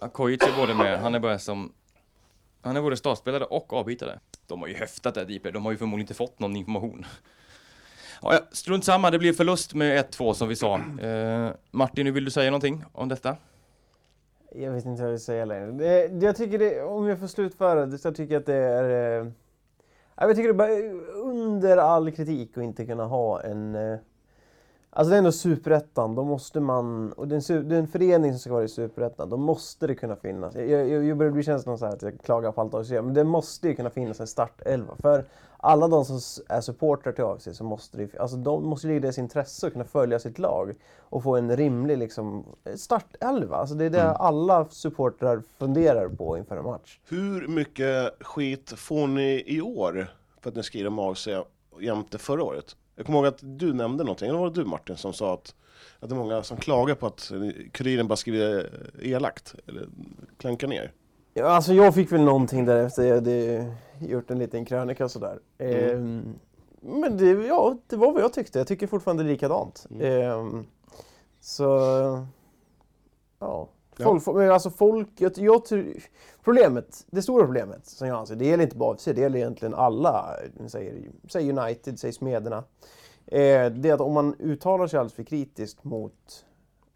A: Ja, Kojic Mm. är både med, han är bara som... Han är både startspelare och avbytare. De har ju höftat det här Deeper, de har ju förmodligen inte fått någon information. Ja, ja, strunt samma, det blir förlust med 1-2 som vi sa. Eh, Martin, nu vill du säga någonting om detta?
C: Jag vet inte vad jag vill säga längre. Det, det- jag tycker det, om jag får slutföra det, så tycker jag att det är... Eh, ja, jag tycker det är bara under all kritik att inte kunna ha en... Eh, alltså det är ändå superettan, då måste man... Och det är, en, su- det är en förening som ska vara i superettan, då måste det kunna finnas. Jag, jag, jag börjar bli känslan så här att jag klagar på allt AFC, men det måste ju kunna finnas en startelva. För alla de som s- är supportrar till AFC, så måste det, ju- alltså de måste ju ligga i deras intresse att kunna följa sitt lag och få en rimlig liksom, startelva. Alltså det är det alla supportrar funderar på inför en match.
B: Hur mycket skit får ni i år för att ni skriver om AFC jämte förra året? Jag kommer ihåg att du nämnde någonting, eller var det du Martin som sa att, att det är många som klagar på att eh, Kuriren bara skriver elakt, eller klankar ner?
C: Ja, alltså jag fick väl någonting därefter. Jag hade ju gjort en liten krönika och sådär. Ehm, men det, ja, det var vad jag tyckte. Jag tycker fortfarande likadant. Ehm, så... Ja.
B: Ja.
C: Folk, men alltså folk, jag, jag, tror- problemet, det stora problemet som jag anser, det gäller inte bara AFC, det gäller egentligen alla, säg, säg United, säg Smederna. Eh, det är att om man uttalar sig alldeles för kritiskt mot,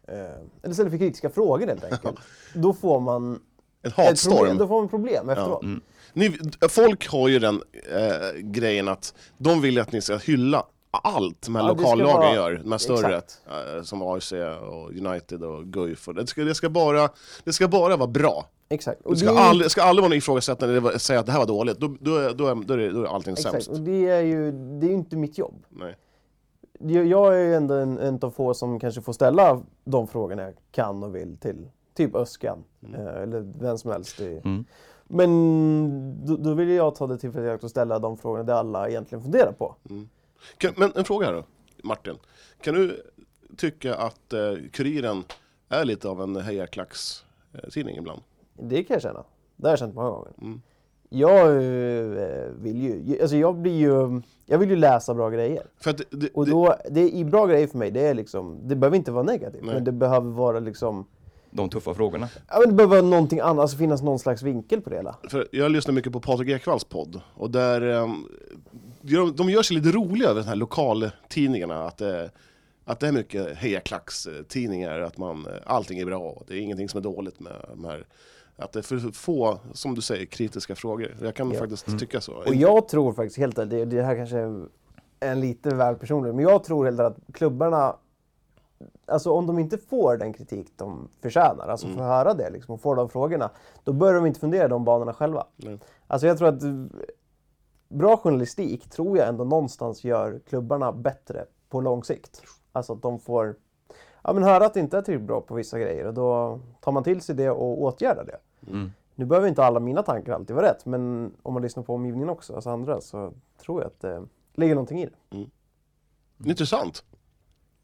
C: eh, eller ställer för kritiska frågor helt enkelt, då får man
B: En
C: ett problem, då
B: hatstorm. Mm.
C: får man problem efteråt.
B: Ni, folk har ju den eh, grejen att de vill att ni ska hylla allt de här
C: Ja, det ska
B: lokallagen
C: vara-
B: gör, de här större
C: Exakt.
B: eh, som AFC och United och Guif. och Det ska, det, ska bara, det ska bara vara bra.
C: Exakt.
B: Det
C: Och
B: ska,
C: det, är,
B: aldrig, ska aldrig vara någon ifrågasättande eller va- säga att det här var dåligt, då, då, är- då, är, då, är, det- då är allting
C: exakt.
B: sämst.
C: Och det är ju det är ju inte mitt jobb.
B: Nej.
C: Jag jag är ju ändå en, en av få som kanske får ställa
B: Mm.
C: de frågorna jag kan och vill till typ Öskan eh, eller vem som helst. I, Men då, då vill jag ta det tillfället i akt och ställa de frågorna det alla egentligen funderar på.
B: Mm. Kan, men en fråga här då, Martin. Kan du tycka att eh, Kuriren är lite av en hejarklackstidning ibland?
C: Det kan jag känna. Det har jag känt många gånger.
B: Mm.
C: Jag eh, vill ju, alltså jag blir ju, jag vill ju läsa bra grejer.
B: För att det, det,
C: Och då, det är bra grejer för mig, det är liksom, det behöver inte vara negativt,
B: Nej.
C: men det behöver vara liksom,
A: De tuffa frågorna.
C: ja men det behöver vara någonting annat, alltså finnas någon slags vinkel på det hela.
B: För jag lyssnar mycket på Patrik Ekwalls podd och där ehm, gör- de gör sig lite roliga över de här lokaltidningarna. Att, det- att det är mycket hejaklackstidningar, att man, eh, allting är bra, det är ingenting som är dåligt med de här. Att det är för få, som du säger, kritiska frågor. Jag kan
C: Ja. Mm.
B: faktiskt tycka så.
C: Och jag tror faktiskt helt ärligt, det, det här kanske är en lite väl personlig, men jag tror helt ärligt att klubbarna, alltså om de inte får den kritik de förtjänar, alltså får höra det liksom, och får de frågorna, då börjar de inte fundera i de banorna själva.
B: Nej.
C: Alltså jag tror att eh, bra journalistik tror jag ändå någonstans gör klubbarna bättre på lång sikt. Alltså att de får ja, men höra att det inte är tillräckligt bra på vissa grejer och då tar man till sig det och åtgärdar det. Nu behöver inte alla mina tankar alltid vara rätt, men om man lyssnar på omgivningen också, alltså andra, så tror jag att det ligger någonting i det.
B: Intressant.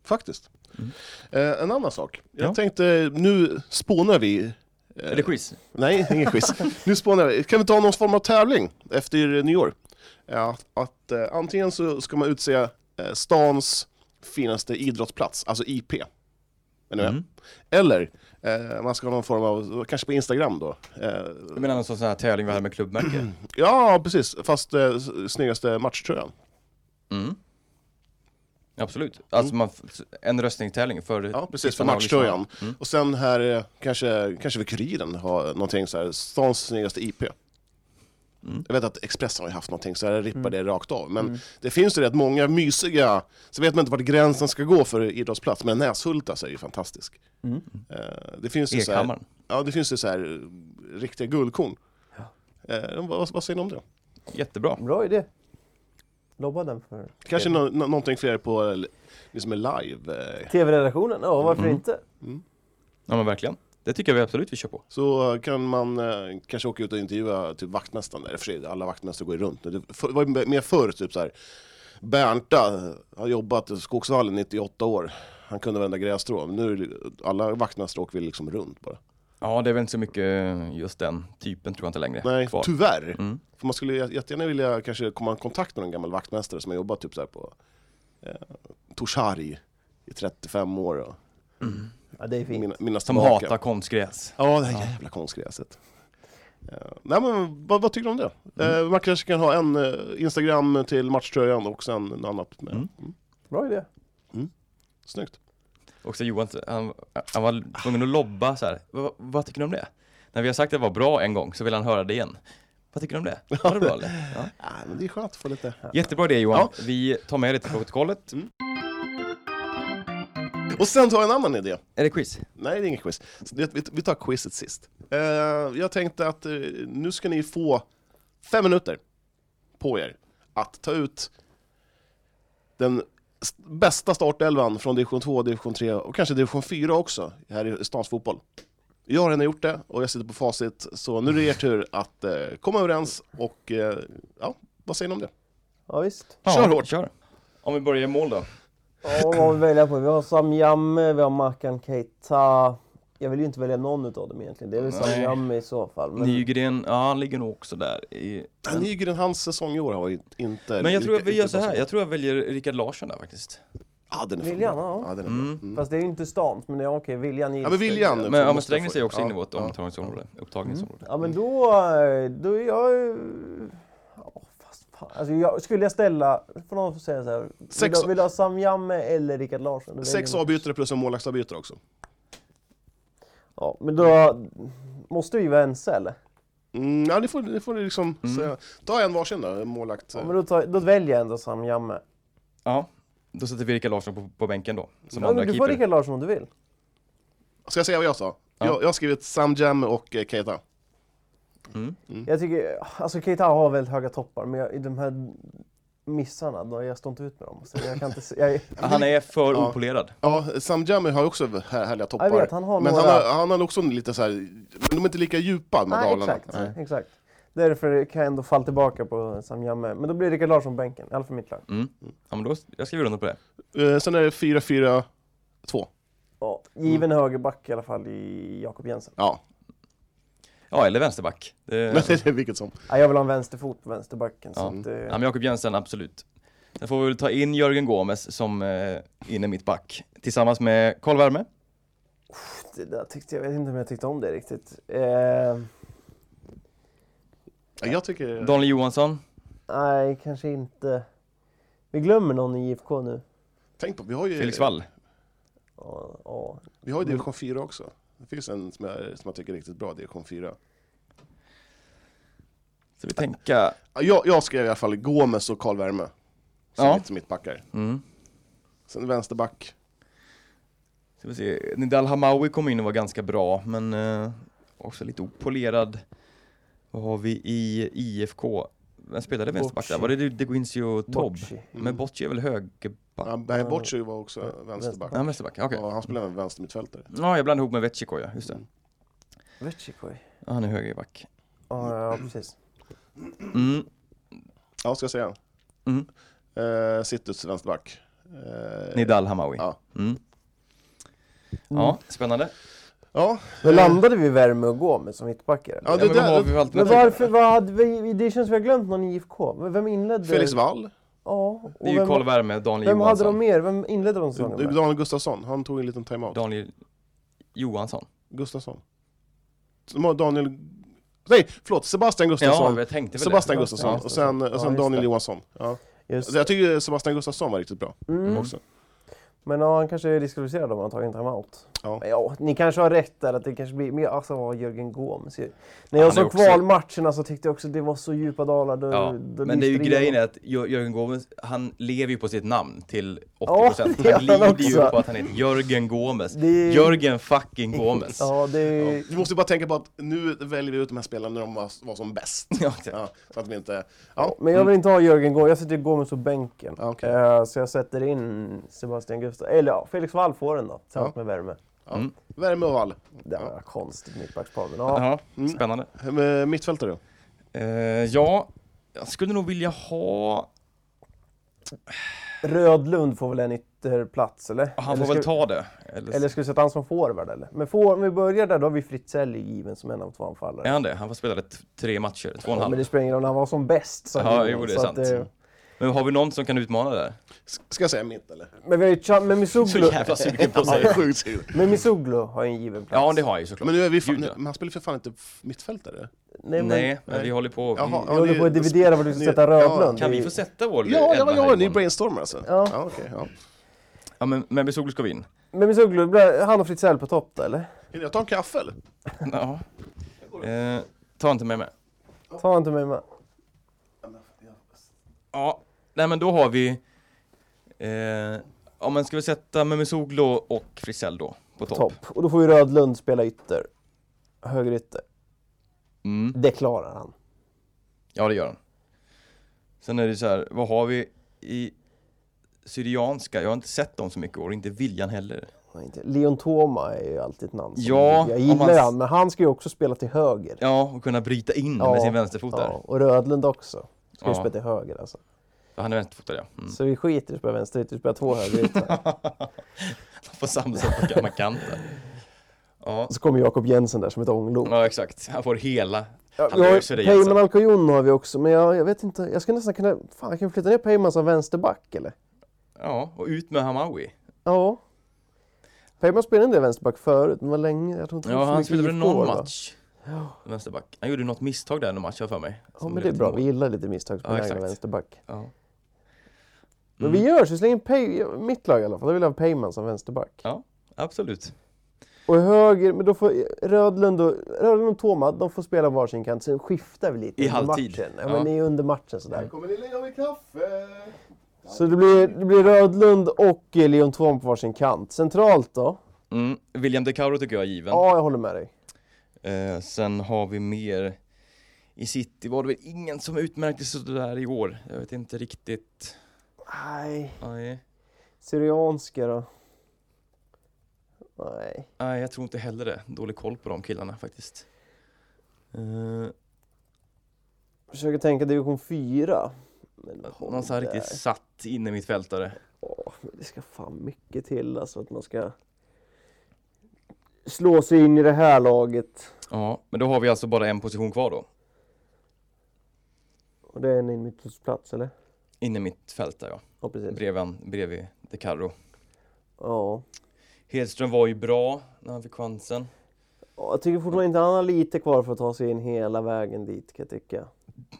B: Faktiskt.
C: Mm.
B: Eh, en annan sak. Jag
A: Ja.
B: tänkte, nu spånar vi. Eh.
A: Är det quiz?
B: Nej, ingen quiz. nu spånar vi. Kan vi ta någon form av tävling efter nyår? Ja, att eh, antingen så ska man utse eh, stans finaste idrottsplats, alltså IP. Är ni med?
A: Mm.
B: Eller eh, man ska ha någon form av, kanske på Instagram då. Eh,
A: Du menar någon sån här tävling vi hade med klubbmärke?
B: ja, precis. Fast eh, s- snyggaste matchtröjan.
A: Mm. Absolut. Alltså man, f- en röstningstävling för
B: Ja, precis, för
A: tittarna och lyssnarna.
B: matchtröjan.
A: Mm.
B: Och sen här eh, kanske, kanske vid Kuriren har någonting så här, stans snyggaste IP.
A: Mm.
B: Jag vet att Expressen har ju haft någonting så jag rippar det rakt av. Men det finns ju rätt många mysiga, så vet man inte vart gränsen ska gå för idrottsplats. Men Näshultas är ju fantastisk.
C: Mm.
B: Eh, Det finns ju så här,
A: Ekhammaren.
B: ja, det finns ju så här eh, riktiga guldkorn. Eh, vad, vad säger ni om det?
A: Jättebra.
C: Bra idé! Lobba den för
B: Kanske nå- nå- någonting fler på, eh, ni som är live. eh.
C: TV-redaktionen. Ja, varför inte?
A: Ja men verkligen. Det tycker jag vi absolut vi kör på.
B: Så kan man eh, kanske åka ut och intervjua typ vaktmästaren, eller för sig, alla vaktmästare går ju runt. Det för- var ju mer förr, typ så här. Bernta eh, har jobbat i Skogsvallen 98 år. Han kunde vända grässtrå. Men nu är det- alla vaktmästare åker väl liksom runt bara.
A: Ja det är väl inte så mycket eh, just den typen tror jag inte längre
B: Nej,
A: kvar.
B: tyvärr.
A: Mm.
B: För man skulle jät- jättegärna vilja kanske komma i kontakt med en gammal vaktmästare som har jobbat typ så här på eh, Torsarg i 35 år och
C: Ja, det är fint.
B: min- minnas
A: Som
B: tillbaka.
A: hatar konstgräs.
B: Ja, det här jävla konstgräset. Eh, nej men vad, vad tycker du om det? Eh, man kanske kan ha en eh, Instagram till matchtröjan och sen något annat. Med.
A: Mm.
C: Bra idé!
B: Snyggt.
A: Också Johan, han, han var tvungen att lobba så här. "Va- vad tycker du om det? När vi har sagt att det var bra en gång så vill han höra det igen. Vad tycker du om det? Var det bra eller? Ja.
B: Ja, men det är skönt att få lite...
A: Jättebra idé Johan. Vi tar med det till protokollet.
B: Mm. Och sen tar jag en annan idé.
A: Är det quiz?
B: Nej, det är ingen quiz. Så det- Vi, vi tar quizet sist. Eh, jag tänkte att eh, nu ska ni få fem minuter på er att ta ut den s- bästa startelvan från division 2, division 3 och kanske division 4 också här i stans fotboll. Jag har redan gjort det och jag sitter på facit, så nu är det er tur att eh, komma överens och eh, ja, vad säger ni om det?
C: Ja, visst.
B: Kör hårt. Mm.
A: Kör. Om vi börjar i mål då.
C: Ja, vad har vi att välja på? Vi har Samjamme, vi har Mackan Keita. Jag vill ju inte välja någon utav dem egentligen. Det är väl
A: Nej.
C: Samjamme i så fall. Men
A: Nygren, ja han ligger nog också där. I,
B: Ja, Nygren, hans säsong i år har ju inte...
A: men jag tror att vi
B: inte
A: gör
B: varit
A: så här. Jag tror jag väljer Rickard Larsson där faktiskt.
B: Ah, den är fan
C: Viljan,
B: bra.
C: ja.
B: Ja, den är bra.
A: Mm.
B: Mm.
C: fast det är ju inte stant, men det är okej. Viljan gills.
B: Ja, men Viljan.
A: Men ja, men
B: måste
A: Strängnäs
B: få-
A: är också
B: ja,
A: inne i vårt
B: ja. Mm.
A: omtagningsområde, upptagningsområde.
C: Ja, men då, eh, då är jag... ju- Ja, fast fan. Alltså, jag, skulle jag ställa... Får någon säga så här? Vill,
B: Sex-
C: du, vill du ha Sam Jamme eller Rickard Larsson? Då väljer
B: Sex
C: man.
B: avbytare plus en målvaktsavbytare också.
C: Ja, men då måste vi vara ense eller?
B: Mm, ja, det får, det får du liksom säga. Ta en varsin då, en målvakt.
C: Mm. Ja, men då, tar, då väljer jag ändå Sam Jamme.
A: Ja, då sätter vi Rickard Larsson på, på bänken då, som
C: Ja,
A: andra
C: men du får
A: keeper.
C: Rickard Larsson om du vill.
B: Mm. Ska jag säga vad jag sa?
A: Ja.
B: Jag, jag har skrivit Sam Jam och eh, Keita.
C: Jag tycker... Alltså Keita har väldigt höga toppar, men jag, i de här missarna, då jag står inte ut med dem. Så jag kan inte, se- jag,
A: Han är för
B: Ja.
A: opolerad.
B: Ja, Sam Jammy har ju också här- härliga toppar.
C: Jag vet, han har
B: men
C: några-
B: han, har, han har också lite så här, men de är inte lika djupa med
C: nej,
B: dalarna.
C: exakt,
B: Nej.
C: exakt. Därför kan jag ändå falla tillbaka på Sam Jamme. Men då blir Rickard Larsson på bänken, i alla fall för mitt lag.
A: Mm. Ja, men då, jag skriver under på det.
B: Eh, sen är det 4-4-2.
C: Ja,
A: Mm.
C: given högerback i alla fall i Jakob Jensen.
B: Ja,
A: Ja, eller vänsterback. Det,
B: men det är vilket som.
C: Ja, jag vill ha en vänsterfot på vänsterbacken. Så
A: Ja.
C: att, eh,
A: ja, men Jakob Jensen, absolut. Sen får vi väl ta in Jörgen Gomes som eh, inne mitt back tillsammans med Karl Värme.
C: det där tyckte, jag vet inte om jag tyckte om det riktigt. Eh,
B: Ja, jag tycker...
A: Daniel Johansson.
C: nej, kanske inte. Vi glömmer någon i IFK nu.
B: Tänk på, vi har ju...
A: Felix Wall.
C: Ja, ja.
B: Vi har ju division 4 också. Det finns en som jag, som jag tycker är riktigt bra, division 4.
A: Så vi tänka.
B: Ja, Jag, jag skrev i alla fall Gomes och Karl Värme. Som
A: Ja.
B: mitt, mittbackar.
A: Mm.
B: Sen vänsterback.
A: Så vi se. Nidal Hamawi kom in och var ganska bra, men eh, också lite opolerad. Vad har vi i IFK? Vem spelade vänsterback där? Var det Deguinzi och Tobb?
C: Bocci. Mm.
A: Men Bocci är väl högerback?
B: Ja, Nej, Bocci var också vänsterback.
A: Ja, vänsterback. Okej.
B: Ja, han spelar en vänstermittfältare.
A: Ja, jag blandade ihop med Vetchiko, ja. Just det.
C: Vetchikoi.
A: Ja, Han är högerback.
C: Ja, ja, precis.
A: Mm.
B: Ja, ska jag säga.
A: Mm.
B: Eh, Sittus vänsterback. Eh,
A: Nidal Hamawi.
B: Ja.
A: Mm. Ja, spännande.
B: Ja,
C: Då landade vi Värme och Gomes som mittbackar. eller?
B: ja, det
A: Ja, men vad har
B: där,
A: vi för
C: Men
A: alternativ?
C: varför, vad hade vi, det känns som vi har glömt någon i IFK. V- Vem inledde?
B: Felix Wall,
C: Ja. och
A: Det är ju
C: vem,
A: Karl Värme, Daniel
C: vem hade de
A: Johansson.
C: mer? Vem inledde de säsongen med?
B: Daniel Gustafsson, han tog en liten timeout.
A: Daniel Johansson.
B: Gustafsson. De har Daniel... Nej, förlåt, Sebastian Gustafsson.
A: Ja, jag tänkte väl
B: Sebastian
A: det.
B: Gustafsson och
C: Gustafsson.
B: sen, och
C: Ja,
B: sen
C: just
B: Daniel
C: det.
B: Johansson. Ja.
C: Just,
B: Alltså, jag tycker Sebastian Gustafsson var riktigt bra
C: mm.
B: också.
C: Men ja, han kanske är diskvalificerad om han tagit en timeout.
B: Ja.
C: Men ja, ni kanske har rätt där att det kanske blir mer, alltså ja, Jörgen Gomes. ju. När jag
A: Han är
C: såg
A: också-
C: kvalmatcherna så tyckte jag också det var så djupa dalar. Då,
A: Ja,
C: då
A: men det är ju
C: lyste
A: grejen
C: igenom.
A: är att Jör- Jörgen Gomes, han lever ju på sitt namn till 80%.
C: det gör
A: han
C: han
A: lider ju
C: också.
A: på att han heter Jörgen Gomes.
C: Det är-
A: Jörgen fucking Gomes. Ja,
C: Ja, det är ju...
B: Vi måste bara tänka på att nu väljer vi ut de här spelarna när de var, var som bäst.
A: exakt.
B: Ja, så att vi inte... Ja,
C: Men
A: Mm.
C: jag vill inte ha Jörgen Gomes, jag sätter Gomes på bänken.
B: Ja, okej.
C: Eh, så jag sätter in Sebastian Gustafsson, eller ja, Felix Wall får den då, tillsammans med Värme.
B: ja.
C: Mm.
B: Värme och Wall.
C: Det var konstigt mittbackspar, men ja.
A: Jaha, spännande.
B: Eh, Mittfältare.
A: Eh, ja, jag skulle nog vilja ha...
C: Rödlund får väl en ytterplats, eller?
A: Han får
C: eller ska,
A: väl ta det. Eller,
C: Eller ska vi sätta han som forward, eller? Men får, om vi börjar där, då har vi Fritzell i given som en av två anfallare.
A: Är han det? Han har spelat ett- tre matcher, två och en
C: Ja,
A: halv.
C: men det spelar ingen roll, när han var som bäst. Så
A: Ja, jo, det är
C: så att,
A: sant.
C: eh,
A: Men har vi någon som kan utmana där?
B: S- Ska jag säga mitt eller?
C: men vi har ju Cham- men
A: Så
C: Misuglu,
A: jävla sugen på att
B: Ja,
A: säga.
B: jag är sjukt sur.
C: men Misuglu har ju en given plats.
A: Ja, det har jag ju såklart.
B: Men nu är vi fan,
A: Gud,
B: nu,
A: ja.
B: men han spelar för fan inte f- mittfältare.
C: Nej, men,
A: Nej, men vi håller på.
B: Jaha,
C: Mm. Jag håller
B: ni-
C: på att dividera vad du ska sätta Rödlund.
A: vi, kan
C: Det är-
A: vi få sätta vår
B: Ja, det
A: elva
B: var
A: här
B: jag. Ni
A: imorgon?
B: brainstormar alltså?
C: Ja.
B: ja okej. ja.
A: Ja, men, men Besoglu ska vi in.
C: Men Misuglu, blir han och Fritzell på topp då, eller?
B: Hinner jag ta en kaffe eller?
A: Ja. Eh, ta inte med mig.
C: Ta inte mig med.
A: Ja, nej men då har vi... Eh, ja men ska vi sätta Memmisoglu och Frisell då på topp?
C: Topp. Och då får ju Rödlund spela ytter. Högerytter.
A: Mm.
C: Det klarar han.
A: Ja det gör han. Sen är det så här, vad har vi i Syrianska? Jag har inte sett dem så mycket och inte viljan heller.
C: Nej, inte- Leon Toma är ju alltid ett namn. som-
A: Ja,
C: jag
A: om
C: gillar
A: man-
C: han, men han ska ju också spela till höger.
A: Ja, och kunna bryta in med sin vänsterfot där.
C: ja, Och Rödlund också. Ska ju
A: Ja. Mm.
C: spela till höger alltså.
A: För Han är vänsterfotad ja. Mm.
C: Så vi skiter i att spela vänsterytter, vi spelar två högerytor.
A: Han får samlas på gamla kanter. Ja.
C: så kommer Jakob Jensen där som ett ånglok.
A: ja, exakt. Han får hela...
C: Ja,
A: Han
C: vi har
A: löser det, Jensen.
C: Peyman Alcoyon har vi också, men jag, jag vet inte. Jag ska nästan kunna... Fan, jag kan flytta ner Peyman som vänsterback eller?
A: Ja, och ut med Hamawi.
C: Ja. Peyman spelade inte vänsterback förut, men det var länge. Jag tror inte det
A: Ja,
C: var så
A: han
C: mycket
A: spelade väl
C: IFK,
A: någon
C: va?
A: match. Vänsterback. Han gjorde något misstag där i någon match, har jag för mig.
C: Ja,
A: Som
C: men det
A: blev
C: är bra.
A: till
C: Vi
A: mål.
C: gillar lite misstagsbenägna
A: exakt. Mm.
C: vänsterback.
A: Ja.
C: Men vi gör så. Vi slänger in pay, mitt lag i alla fall. Då vill jag ha Payman som vänsterback.
A: Ja. Absolut.
C: Och höger, men då får Rödlund och, Rödlund och Toma, de får spela varsin kant. Sen skiftar vi lite
A: I
C: under
A: halvtid.
C: matchen. Ja,
A: Ja.
C: men det är under matchen sådär.
B: Kommer ni lägga mig kaffe?
C: Så det blir, det blir Rödlund och eh, Leon Toma på varsin kant. Centralt då?
A: Mm. William De Caro tycker jag är given.
C: Ja, jag håller med dig.
A: Eh, sen har vi mer I city var det väl ingen som utmärkte sig sådär i år. Jag vet inte riktigt.
C: Nej.
A: Nej.
C: Syrianska då? Nej.
A: Nej, jag tror inte heller det. Dålig koll på de killarna faktiskt. Eh,
C: Försöker tänka division 4. Men
A: någon sån här
C: där.
A: riktigt satt inne mitt fältare.
C: Åh, men det ska fan mycket till alltså att man ska slå sig in i det här laget.
A: Ja, men då har vi alltså bara en position kvar då.
C: Och det är en inmittplats eller?
A: Inne mitt fält där ja.
C: Ja precis.
A: Bredvid, bredvid De Carro.
C: Ja.
A: Hedström var ju bra när han fick chansen.
C: Ja, Jag tycker fortfarande inte han har lite kvar för att ta sig in hela vägen dit kan jag tycka.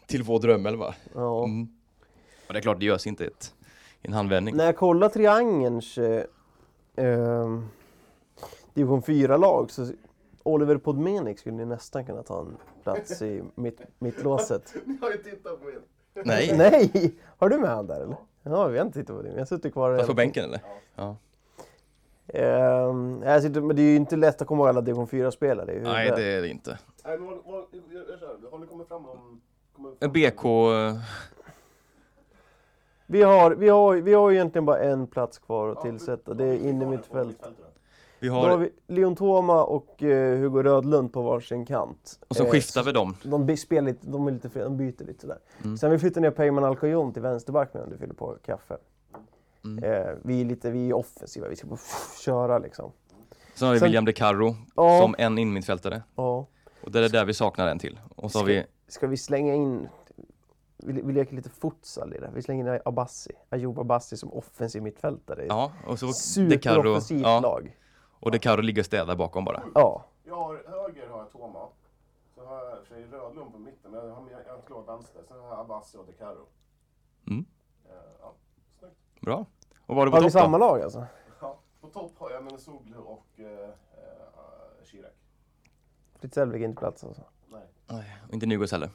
A: Till vår drömelva.
C: Ja.
A: Mm. Och det är klart, det görs inte ett, i en handvändning.
C: När jag kollar triangelns eh, eh, division 4-lag så Oliver Podmenik skulle ju nästan kunna ta en plats i mitt, mittlåset.
E: Ni har ju tittat på mig.
A: Nej.
C: Nej! Har du med han där eller? Ja, vi har inte tittat på det. Jag sitter kvar
A: Fast På
C: hela-
A: bänken eller? Ja.
C: Ehm, jag sitter, men det är ju inte lätt att komma ihåg alla division 4-spelare i
A: Nej,
C: huvudet.
A: det är det inte.
E: Nej, men vad- vad- jag- jag kör. Har ni kommit fram om... kommit fram-
A: BK... eh,
C: Vi, har, vi, har, vi har ju egentligen bara en plats kvar att tillsätta. Det är inne i mitt fält.
A: Vi
C: Då har
A: har...
C: vi Leon Toma och eh, Hugo Rödlund på varsin kant.
A: Och så
C: Eh,
A: skiftar vi dem.
C: De, by- spelar lite, de, är lite, fri- de byter lite sådär.
A: Mm.
C: Sen vi flyttar ner Peyman Alcoyon till vänsterback medan du fyller på kaffe.
A: Mm.
C: Eh, vi, är lite, vi är offensiva, vi ska bara köra liksom.
A: Sen har vi
C: Sen-
A: William De Carro
C: Ja.
A: som en inmittfältare.
C: Ja.
A: Och det är där vi saknar en till. Och så har vi...
C: Ska vi slänga in... Vi, vi leker lite futsal i det. Vi slänger in Abassi, Ayoub Abassi som offensiv mittfältare.
A: Ja, och så De Carro.
C: Superoffensivt
A: Ja,
C: lag.
A: och De Carro ligger och städar bakom bara.
C: Ja.
E: Jag har höger har jag Toma. Så har jag i och för sig Rödlund på mitten, men jag har med en klar vänster. Sen har jag Abassi och De Caro.
A: Mm.
E: Eh, ja, snyggt.
A: Bra. Och var det på
C: Har vi
A: topp då?
C: samma lag alltså?
E: Ja, på topp har jag Menesoglu och eh, eh, Chirac.
C: Fritz Elvik är inte plats alltså.
E: Nej.
A: Nej, och inte Nygårds heller.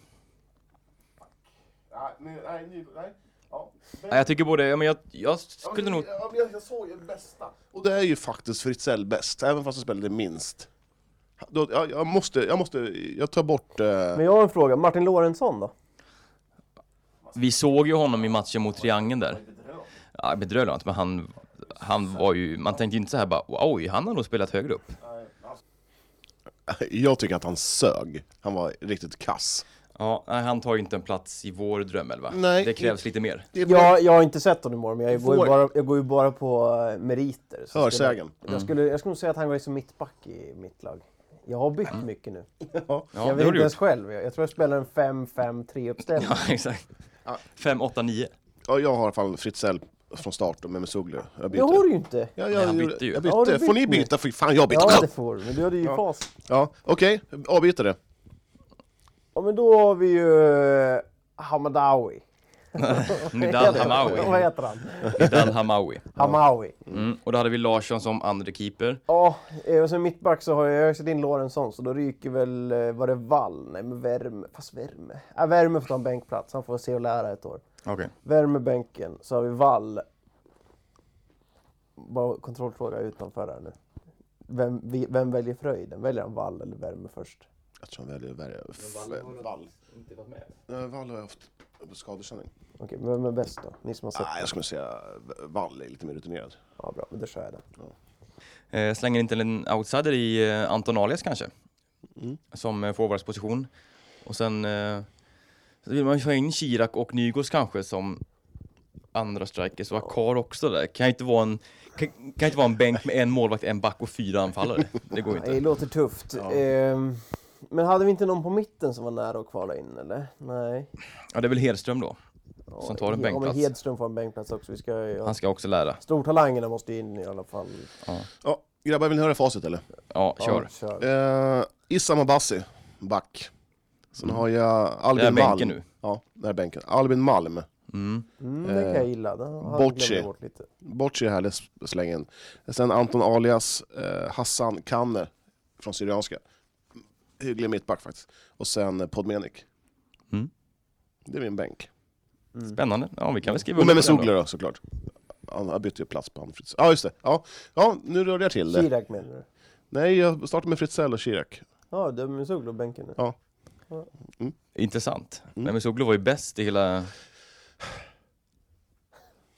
E: Nej, nej, nej. nej, nej. Ja.
A: Nej, jag tycker både... Ja, men jag, jag
E: Ja, men
A: skulle
E: det-
A: nog...
E: ja, men jag, jag såg ju det bästa. Och det är ju faktiskt Fritzell bäst, även fast han spelade minst. Då, jag, jag, måste, jag måste, jag tar bort... Eh,
C: Men jag har en fråga. Martin Lorentzon då?
A: Vi såg ju honom i matchen mot Triangeln där. Ja, bedrövlig var han inte, men han, han var ju... Man tänkte ju inte så här bara oj, han har nog spelat högre upp.
B: Jag tycker att han sög. Han var riktigt kass.
A: Ja, nej, han tar ju inte en plats i vår drömelva.
B: Nej.
A: Det krävs lite mer.
C: Jag, jag har inte sett honom i år, men jag går,
B: Får-
C: ju bara, jag går ju bara på eh, meriter. Så skulle,
B: Hörsägen.
C: jag, skulle, jag skulle nog säga att han går som mittback i mitt lag. Jag har bytt mycket nu.
A: Mm. Ja, det
C: jag vet
A: har du
C: inte
A: gjort.
C: ens själv. Jag, jag tror jag spelar en 5-5-3-uppställning.
A: Ja, exakt. Fem, åtta, nio.
B: Ja, jag har i alla fall Fritzell från start och Memesoglu. Jag
C: Det har du ju inte!
B: Ja,
A: Nej,
B: jag,
A: han
B: gjorde-
A: bytte ju.
B: jag
C: Ja, du
B: bytte.
C: bytte.
B: Får ni byta? Fy fan, jag byter.
C: Ja,
B: Ja,
C: det får du. Men du hade ju fas.
B: Okej, avbytare.
C: Ja, men då har vi ju eh, Hamadawi.
A: Nidal
C: Vad
A: Hamawi.
C: heter han?
A: Nidal Hamawi.
C: Hamawi.
A: Mm. Och då hade vi Larsson som andra keeper.
C: Ja, eh, och sen mittback så har jag, jag har sett in Lorentzon så då ryker väl, eh, var det Wall? Nej men Värme, fast Värme. Ja, Värme får ta en bänkplats, han får se och lära ett år.
A: Okej.
C: Värme bänken, så har vi Wall. Bara kontrollfråga utanför här nu. Vem, vi- vem väljer Fröjden? Väljer han Wall eller Värme först?
B: Jag tror han väljer Värja. Wall. Eh, Wall har jag haft skadekänning.
C: Okej, men vem är bäst då? Ni som har sett?
B: Nej, jag skulle säga Wall är lite mer rutinerad.
C: Ja, bra, men då kör jag den.
A: Eh, slänger inte en outsider i eh, Anton Alias kanske.
C: Mm.
A: Som eh, forwardsposition. Och sen eh, så vill man ju få in Kirak och Nygårds kanske som andra strikers och Akar också där. Kan ju inte vara en, kan, kan inte vara en bänk med en målvakt, en back och fyra anfallare. Det går ju
C: Nej, det
A: inte.
C: låter tufft. Ehm, men hade vi inte någon på mitten som var nära att kvala in eller? Nej.
A: Ja, det är väl Hedström då. Som tar en
C: Ja, men
A: bänkplats.
C: Hedström får en bänkplats också. Vi ska ju ha...
A: Han ska också lära.
C: Stortalangerna måste ju in i alla fall.
B: Ja, grabbar, vill ni höra facit eller?
A: Ja,
C: Ja,
A: kör.
C: kör.
B: Eh, Issam Abassi, back. Sen har jag
A: Det Mm. är
B: Albin
A: bänken
B: Malm.
A: nu.
B: Ja, där är bänken. Albin Malm.
A: Mm.
C: Mm, det kan jag gilla. Den har-
B: Bocci.
C: glömde jag bort lite.
B: Bocci är härlig släng in. Sen Anton Alias, eh, Hassan Kanne från Syrianska. Hygglig mittback faktiskt. Och sen eh, Podmenik.
A: Mm.
B: Det är min bänk.
A: Spännande. Ja, vi kan väl skriva
B: Och
A: under
B: med
A: på den
B: Sogler då såklart. Han han bytte ju plats på han Fritz. Ja just det. Ja, ja nu rörde jag till det.
C: Kirak menar du?
B: Nej, jag startade med Fritzell och Chirac.
C: Ja, du har Musoglu på bänken nu.
B: Ja.
A: Intressant.
B: Mm.
A: Nej men Soglo var ju bäst i hela...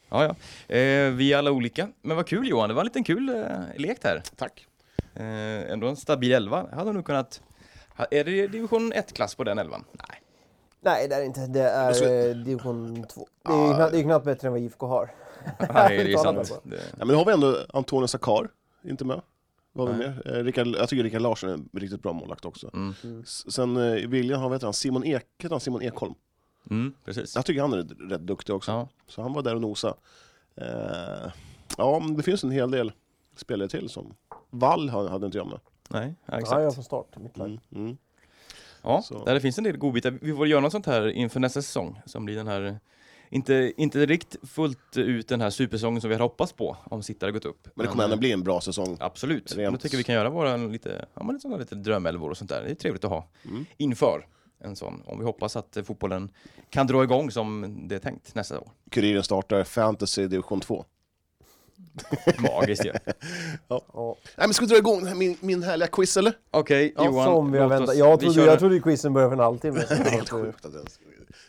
A: Ja, ja. Eh, vi är alla olika. Men vad kul Johan, det var en liten kul eh, lek här.
B: Tack.
A: Eh, ändå en stabil elva. Hade nog kunnat... Ha- Är det division 1-klass på den elvan? Nej.
C: Nej, det är det inte. Det är eh, division 2. Det är, ju knappt, det
B: eh,
C: är knappt bättre än vad IFK har.
A: Nej, det är ju
C: Uttalar mig
A: sant. Det...
B: Ja, men nu har vi ändå Antonio Sakar, inte med. Vad har vi mer? Eh, Rickard, jag tycker Rickard Larsson är en riktigt bra målvakt också.
A: Mm.
B: S- Sen eh, i William har vi han, Simon Ek, heter han Simon Ekholm.
A: Mm, precis.
B: Jag tycker han är rätt- rätt duktig också.
A: Ja.
B: Så han var där och nosa. Eh, ja, men det finns en hel del spelare till som Wall hade hade inte jag med.
A: Nej, ja, exakt.
C: Ja, jag från start. i Mitt lag.
B: Mm, mm.
A: Ja,
B: Så.
A: där det finns en del godbitar. Vi får göra något sånt här inför nästa säsong som blir den här inte, inte riktigt fullt ut den här supersäsongen som vi hade hoppats på om sittare gått upp.
B: Men det kommer ändå bli en bra säsong.
A: Absolut.
B: Rent-
A: Rent. Jag tycker vi kan göra våra lite, ja, men lite, sådana lite drömelvor och sånt där. Det är trevligt att ha
B: Mm.
A: inför en sån. Om vi hoppas att eh, fotbollen kan dra igång som det är tänkt nästa år.
B: Kuriren startar Fantasy Division 2.
A: Magiskt ju.
C: Ja.
B: Nej, men ska vi dra igång den här- min, min härliga quiz eller?
A: Okej,
C: Ja,
A: Johan.
C: som vi har
A: låt oss-
C: väntat. Jag
A: vi
C: trodde,
A: kör-
C: jag trodde quizen började för en halvtimme sedan.
B: Helt sjukt att jag ens...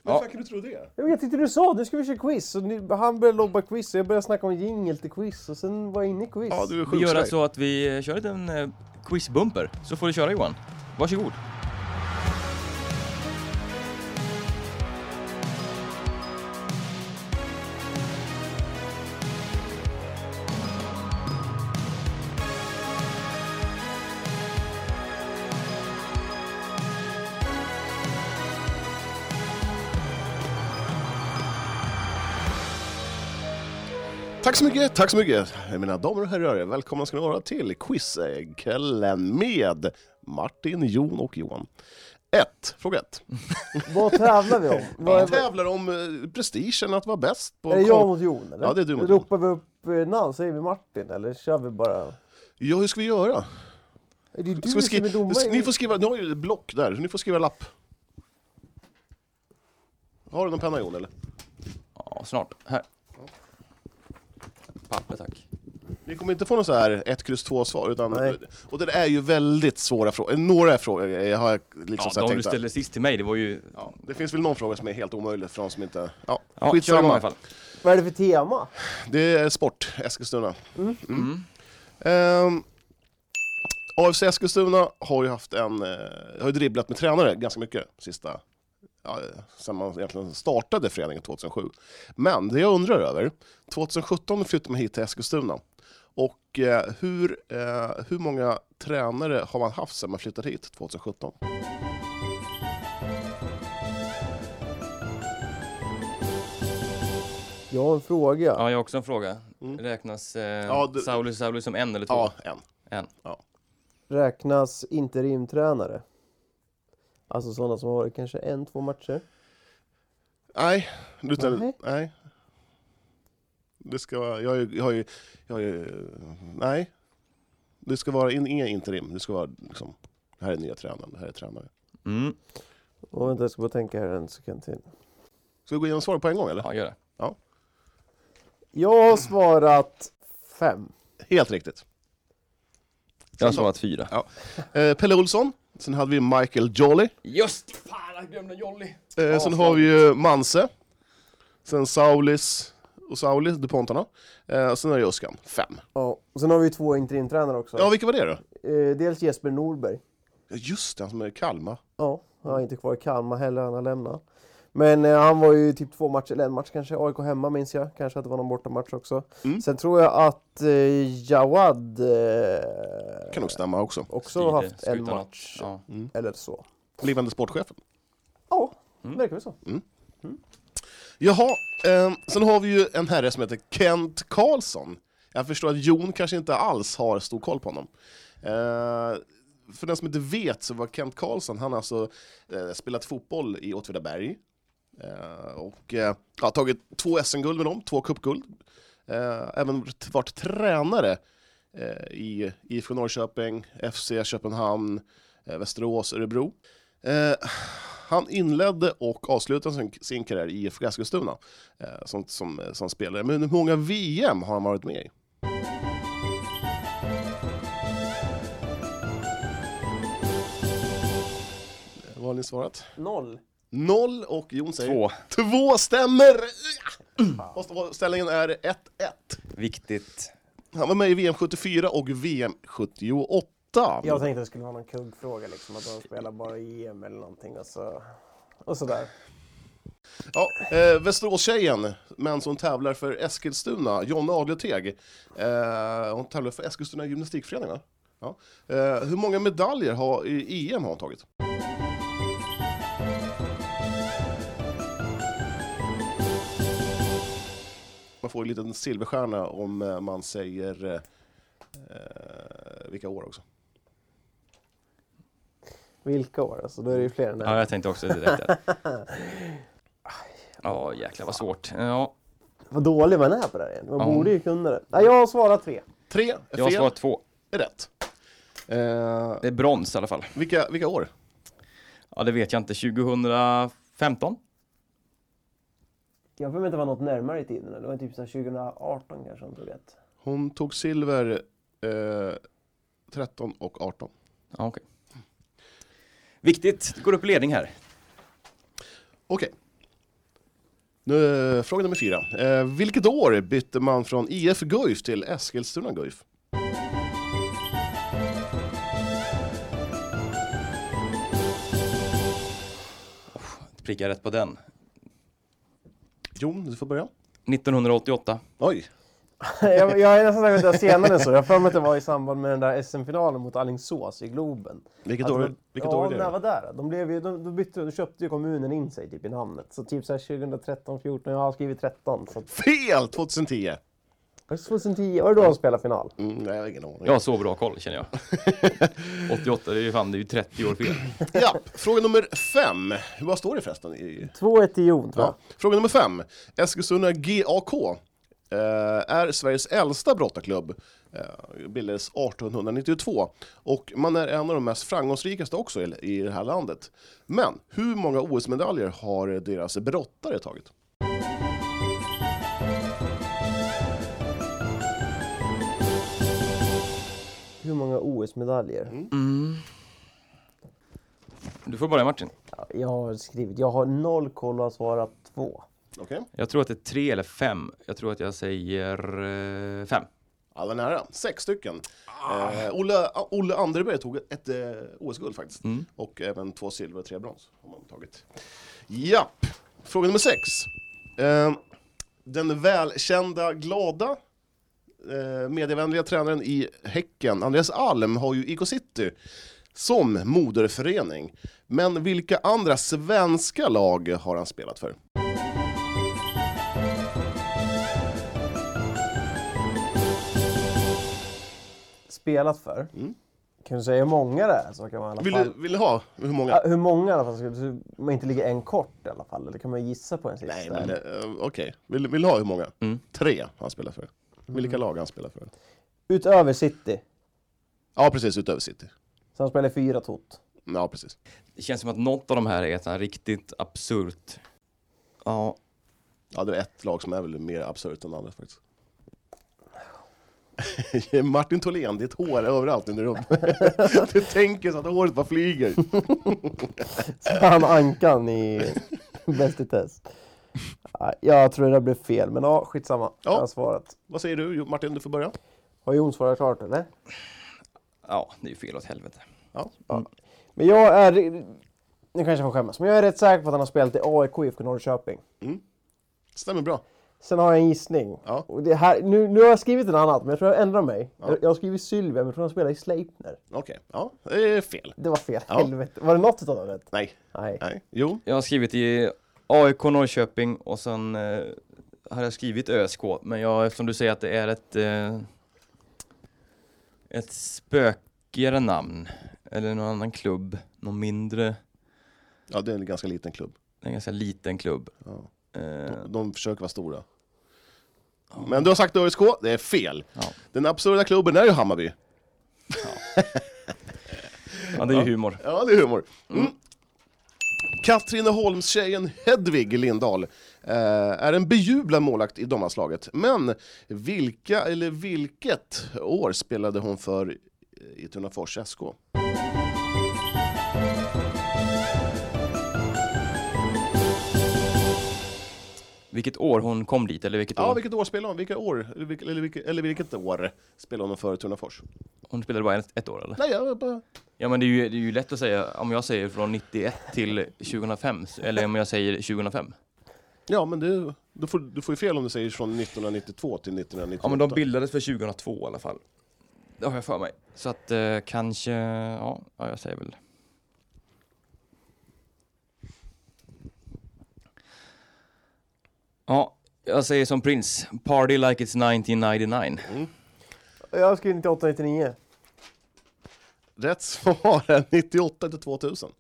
B: Men
A: Ja.
B: fan kan du tro det?
C: Ja, men Jag tyckte du sa nu ska vi köra quiz. Och nu, han började lobba quiz och jag började snacka om jingel till quiz och sen var jag inne i quiz.
B: Ja, du är
A: Vi
B: sjuk.
A: gör
B: Sverige.
A: det så att vi eh, kör en liten eh, quizbumper, så får du köra Johan. Varsågod.
B: Tack så mycket, tack så mycket. Mina damer och herrar, välkomna ska ni vara till quizkvällen med Martin, Jon och Johan. 1. Fråga 1.
C: Mm. Vad tävlar vi om?
B: Vi
C: Vad,
B: tävlar om eh, prestigen att vara bäst. På
C: är det
B: kon-
C: jag mot Jon eller?
B: Ja, det är du mot
C: Ropar vi upp eh, namn, säger vi Martin eller kör vi bara?
B: ja, hur ska vi göra?
C: Är det
B: Ska
C: du
B: vi
C: som är
B: skri...
C: domare?
B: Ni får skriva, ni har ju ett block där, så ni får skriva lapp. Har du någon penna Jon eller?
A: Ja, snart. Här. Papper, tack.
B: Ni kommer inte få någon så här 1, kryss 2 svar, utan...
C: Nej.
B: Och det är ju väldigt svåra frågor. Några frågor jag har jag liksom så
A: ja,
B: här
A: de du
B: tänkt att-
A: ställde sist till mig, det var ju...
B: Ja, det finns väl någon fråga som är helt omöjlig för de som inte... Ja,
A: Ja, kör igång i alla fall.
C: Vad är det för tema?
B: Det är sport, Eskilstuna. Mm. Ehm, AFC Eskilstuna har ju haft en, eh, har ju dribblat med tränare ganska mycket sista, ja, sen man egentligen startade föreningen 2007. Men det jag undrar över, 2017 flyttade man hit till Eskilstuna. Och eh, hur, eh, hur många tränare har man haft sedan man flyttade hit 2017?
C: Jag har en fråga.
A: Ja, jag har också en fråga.
B: Mm.
A: Räknas eh,
B: Ja, du-
A: Sauli Sauli som en eller två?
B: Ja, en.
C: Räknas interimtränare? Alltså sådana som har varit kanske en, två matcher?
B: Nej, utan,
C: Nej.
B: nej. Det ska vara, jag har ju, jag har ju, jag har ju nej. Det ska vara in, ingen interim, det ska vara liksom, det här är nya tränaren, det här är tränare.
A: Mm.
C: Och vänta, jag ska bara tänka här en sekund till.
B: Ska vi gå igenom svaren på en gång eller?
A: Ja, gör det.
C: Jag har svarat fem.
B: Helt riktigt.
A: Jag har svarat fyra.
B: Eh, Pelle Olsson, sen hade vi Michael Jolly,
A: Just! Fan, jag glömde Jolly!
B: eh, sen har vi ju Manse, sen Saulis och Saulis, DuPontarna, eh, och sen är det Öskan, fem.
C: Ja, och sen har vi ju två interimtränare också.
B: Ja, vilka var det då?
C: Eh, dels Jesper Norberg.
B: Ja, Just det, han som är i Kalmar.
C: Ja, han är inte kvar i Kalmar heller, han har lämnat. Men eh, han var ju typ två matcher, eller en match kanske, AIK hemma minns jag. Kanske att det var någon bortamatch också.
B: Mm.
C: Sen tror jag att eh, Jawad eh,
B: Kan nog stämma också.
C: också har
A: Stiger,
C: haft en
A: skutan.
C: match
A: Ja.
C: eller så. Mm.
B: Blivande sportchefen.
C: Ja, verkar väl så.
A: Mm.
B: Jaha, eh, sen har vi ju en herre som heter Kent Karlsson. Jag förstår att Jon kanske inte alls har stor koll på honom. Eh, för den som inte vet så var Kent Karlsson, han har alltså eh, spelat fotboll i Åtvidaberg. Eh, och eh, ja, tagit två SM-guld med dem, två cupguld. Eh, även varit tränare eh, i IFK Norrköping, FC Köpenhamn, eh, Västerås, Örebro. Eh, han inledde och avslutade sin, sin karriär i IFK Eskilstuna eh, som, som, som spelare. Men hur många VM har han varit med i? Det var en Eh, ni svarat?
C: Noll.
B: Noll och Jon säger
A: Två.
B: Två stämmer! Ja. Och Ställningen är 1-1.
A: Viktigt.
B: Han var med i VM 74 och VM 78.
C: Jag tänkte att det skulle vara någon kuggfråga liksom, att de spelar bara EM eller någonting och så... Och sådär.
B: Ja, eh, Västeråstjejen, men som tävlar för Eskilstuna, Jonna Adlerteg. Eh, hon tävlar för Eskilstuna gymnastikförening va? Ja. Eh, hur många medaljer har, i EM har hon tagit? Man får en liten silverstjärna om eh, man säger eh, eh, vilka år också.
C: Vilka år? Alltså, då är det ju fler än det.
A: Ja, jag tänkte också direkt där. Ja, jäklar vad svårt. Ja,
C: Vad dålig man är på det här egentligen.
A: Ja.
C: Man
A: Mm.
C: borde ju kunna det. Nej, jag har svarat tre.
B: Tre är
A: jag har
B: fel,
A: svarat två.
B: är rätt. Eh,
A: Det är brons i alla fall.
B: vilka, vilka år?
A: Ja, det vet jag inte. 2015?
C: Jag behöver inte vara något närmare i tiden. Det var typ så här 2018 kanske hon tog ett.
B: Hon tog silver eh, 13 och 18.
A: Ja, okej. Viktigt. Det går upp i ledning här.
B: Okej. Nu, eh, fråga nummer fyra. Eh, vilket år bytte man från IF Guif till Eskilstuna Guif?
A: Prickar rätt på den.
B: Jon, du får börja.
A: 1988.
B: Oj,
C: jag, jag är nästan säker på att det var senare än så. Jag har för mig att det var i samband med den där SM-finalen mot Alingsås i Globen.
B: vilket
C: Att
B: år,
C: Alltså, de-
B: vilket
C: ja,
B: år är det?
C: när jag var där. De, blev ju, de, de, bytte, de köpte ju kommunen in sig typ i namnet. Så typ så här 2013, 14, jag har skrivit 13. Så
B: Fel! 2010.
C: Var det 2010? Var det då de spelade final?
B: Mm, nej, jag har ingen aning.
A: Jag har så bra koll känner jag. 88, det är ju fan det är ju 30 år fel.
B: Japp, fråga nummer fem. Hur- Vad står det förresten? I...
C: 2-1 till Jon tror jag.
B: Ja. Fråga nummer fem. Eskilstuna GAK eh, är Sveriges äldsta brottarklubb. Eh, bildades 1892 och man är en av de mest framgångsrikaste också i, i det här landet. Men hur många OS-medaljer har deras brottare tagit?
C: Hur många OS-medaljer?
B: Mm.
A: Du får börja Martin.
C: Ja, jag har skrivit, jag har noll koll och har svarat två.
B: Okej,
A: Jag tror att det är tre eller fem. Jag tror att jag säger eh, fem.
B: ja, var nära. Sex stycken. Eh, Olle, Olle Anderberg tog ett eh, OS-guld faktiskt.
A: Mm.
B: Och även två silver och tre brons har man tagit. Japp! Fråga nummer sex. Eh, den välkända, glada, eh, medievänliga tränaren i Häcken, Andreas Alm, har ju IK City som moderförening. Men vilka andra svenska lag har han spelat för?
C: Spelat för.
B: Mm.
C: Kan du säga hur många det är så kan man i alla
B: Vill
C: fall...
B: du, vill du ha hur många?
C: Ja, hur många i alla fall? Så- så Man inte ligger en kort i alla fall, eller kan man gissa på en sista?
B: Nej, men eh, okej. Vill, vill du ha hur många? Tre har han spelat för. Vilka lag har han spelat för?
C: Utöver City,
B: Ja, precis. Utöver City.
C: så han spelar fyra tot.
B: Ja, precis.
A: Det känns som att något av de här är ett sånt här riktigt absurt. Ja,
B: Ja, det är ett lag som är väl mer absurt än andra faktiskt. Martin Tholén, ditt hår är överallt i rummet. du tänker så att håret bara flyger.
C: Så han ankan i Bäst i test. Ja, Jag tror det där blev fel, men ja, skitsamma. Jag har svarat.
B: Vad säger du Jo, Martin, du får börja.
C: Har Jon svarat klart eller?
A: ja, det är ju fel åt helvete.
C: Men jag är... Nu kanske jag får skämmas, men jag är rätt säker på att han har spelat i AIK IFK Norrköping.
B: Stämmer bra.
C: Sen har jag en gissning.
B: Ja.
C: Och det här, nu, nu har jag skrivit en annan, men jag tror jag ändrar mig. Jag, jag har skrivit Sylvia, men jag tror han spelar i Sleipner.
B: Okej, ja, det är fel.
C: Det var fel.
B: Ja.
C: Helvete. Var det något utav dem rätt?
B: Nej,
C: Nej.
B: nej. Jo,
A: Jag har skrivit i AIK Norrköping och sen eh, har jag skrivit ÖSK. Men jag, eftersom du säger att det är ett, eh, ett spökigare namn eller någon annan klubb, någon mindre,
B: ja, det är en ganska liten klubb.
A: en ganska liten klubb.
B: Ja.
A: Eh,
B: De, de försöker vara stora. Men du har sagt ÖSK, det är fel.
A: Ja.
B: Den absurda klubben är ju Hammarby.
A: ja, det är ju humor.
B: Ja, det är humor. Mm. Katrineholmstjejen Hedvig Lindahl eh, är en bejublad målakt i damlandslaget. Men vilka eller vilket år spelade hon för eh, i Tunafors SK?
A: Vilket år hon kom dit, eller vilket
B: Ja,
A: år?
B: vilket år spelar hon? Vilka år? Eller vilket, eller vilket, eller vilket år spelar hon för Tunafors?
A: Hon spelade bara ett, ett år eller?
B: Nej, jag bara...
A: Ja men det är, ju, det är ju lätt att säga, om jag säger från 91 till 2005, eller om jag säger 2005.
B: Ja, men du, du, får, du får ju fel om du säger från 1992 till 1998.
A: Ja men de bildades för 2002 i alla fall. Det har jag för mig. Så att eh, kanske, ja, ja, jag säger väl. Ja, jag säger som Prince, party like it's 1999.
C: Jag har skrivit 98-99.
B: Rätt svar är 98 till 2000.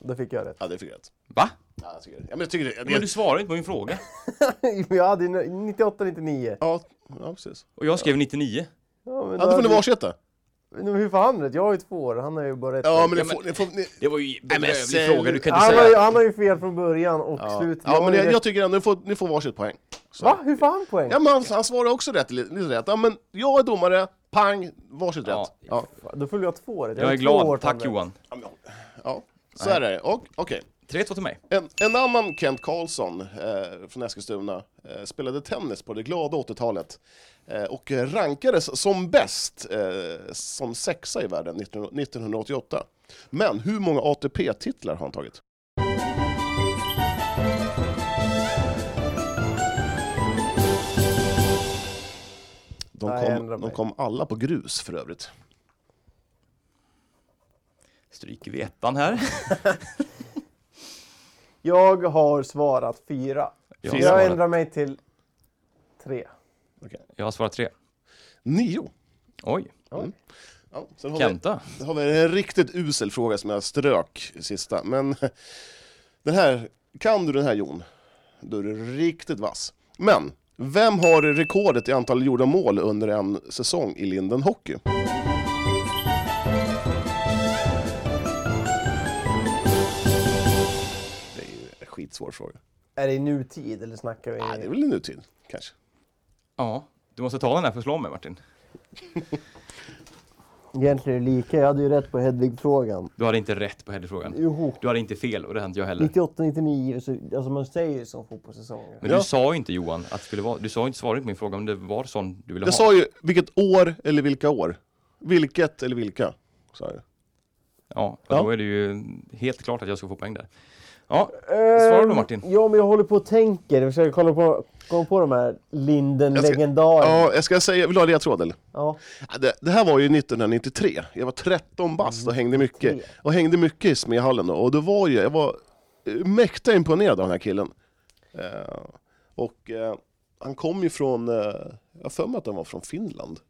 C: Då fick jag rätt.
B: Ja, det fick jag rätt.
A: Va?
B: Ja, jag tycker det. Ja, men jag tycker det. Jag,
A: Men du svarar inte på min fråga.
C: jag hade 98-99.
B: ja, ja, precis.
A: Och jag skrev 99.
C: Ja, men
B: Ja, då får ni
C: hade-
B: varsitt då.
C: Men hur får han rätt? Jag har ju två år, han har ju bara ett
B: Ja,
C: år.
B: men ni får... Ni får ni...
A: Det var ju en
B: säg-
A: bedrövlig fråga, du kan inte
C: han, har ju,
A: säga.
C: han har ju fel från början och
B: Ja.
C: slut.
B: ja,
C: har
B: men
C: ju
B: jag,
C: rätt.
B: jag tycker ändå ni får, ni får varsitt poäng. Så.
C: Va? Hur får han poäng?
B: Ja, men han, han svarar också rätt, lite lite rätt. Ja, men jag är domare, pang, varsitt
A: Ja.
B: rätt. Ja,
C: Då fyller jag två rätt.
A: Jag är
C: har två år
A: glad, tack
C: framme.
A: Johan.
B: ja. så är det. Och, okej.
A: 3-2 till mig.
B: En, en annan Kent Karlsson eh, från Eskilstuna eh, spelade tennis på det glada 80-talet eh, och rankades som bäst eh, som sexa i världen 19, 1988. Men hur många ATP-titlar har han tagit?
C: Nej,
B: De
C: jag
B: kom,
C: ändrar
B: de
C: mig.
B: kom alla på grus för övrigt.
A: Stryker vi ettan här.
C: Jag har svarat fyra.
A: Jag har
B: Fyra.
C: Jag
A: svarat,
C: ändrar mig till tre.
A: jag har svarat 3.
B: Nio!
A: Oj,
B: Ja, sen har vi-
A: Kenta.
B: Då har vi en riktigt usel fråga som jag strök sista, men den här, kan du den här Jon? Då är du riktigt vass. Men, vem har rekordet i antal gjorda mål under en säsong i Linden Hockey? Det är ju en skitsvår fråga.
C: Är det i nutid eller snackar vi?
B: Nej, det är väl i nutid, kanske.
A: Ja, du måste ta den här för att slå mig Martin.
C: Egentligen är det lika. Jag hade ju rätt på Hedvig-frågan.
A: Du hade inte rätt på headfrågan.
C: Jo.
A: Du hade inte fel och det hade inte jag heller.
C: 98-99, så- alltså man säger ju så fotbollssäsonger.
A: Men du sa ju inte Johan att det skulle vara, du sa ju inte svaret på min fråga om det var sån du ville
B: Jag
A: ha.
B: sa ju vilket år eller vilka år. Vilket eller vilka, sa jag.
A: Ja, och
B: Ja.
A: då är det ju helt klart att jag ska få poäng där. Ja,
C: Ehm,
A: svarar du Martin?
C: Ja, men jag håller på och tänker. Jag försöker kolla på, kolla på de här
B: Jag ska-
C: Linden-legendarerna.
B: Ja, jag ska säga, vill du ha ledtråd eller?
C: Ja.
B: Ja, Det, det här var ju 1993. Jag var 13 bast och hängde
C: Mm.
B: mycket, och hängde mycket i Smehallen då. Och det var ju, jag var eh, mäkta imponerad av den här killen. Eh, och eh, han kom ju från, eh, jag har för mig att han var från Finland.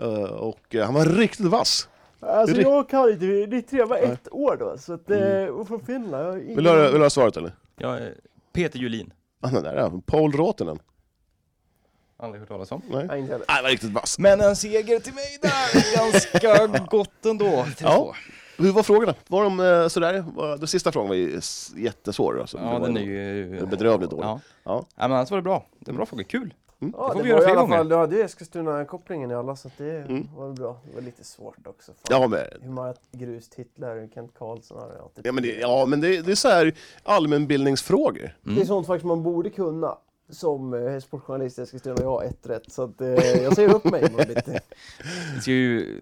B: Eh, och eh, han var riktigt vass.
C: Alltså
B: Ri-
C: jag kan inte, 93 var ett år då, så att,
A: Mm.
C: eh, och från Finland. Jag har ingen...
B: Vill du ha, vill du ha svaret eller?
A: Jag är Peter Julin.
B: Ah, den där, ja, Paul Råtinen.
A: Aldrig hört talas om.
B: Nej.
C: Nej, inte heller.
B: Nej, han var riktigt vass.
A: Men en seger till mig där! Ganska gott ändå.
B: Ja. Hur var frågorna? Var de eh, sådär? Var, den sista frågan var ju s- jättesvår. Alltså. Det
A: Ja,
B: var
A: den är
B: en-
A: ju...
B: en Bedrövligt dålig.
A: Ja.
B: Ja.
A: ja, men annars var det bra. Det var bra frågor. Kul!
C: Ja,
A: Mm. får vi
C: det var
A: göra
C: i
A: fler
C: alla fall,
A: gånger. Mm.
C: du hade ju Eskilstuna-kopplingen i alla, så att det var väl bra. Det var lite svårt också. Fan.
B: Ja, men
C: Hur många grustitlar Kent Karlsson har alltid.
B: Ja men, det, ja, men det, det är så här allmänbildningsfrågor.
C: Det är sånt faktiskt man borde kunna. Som eh, sportjournalist i Eskilstuna och jag har ett rätt. Så att, eh, jag säger upp mig bara lite.
A: Jag ska ju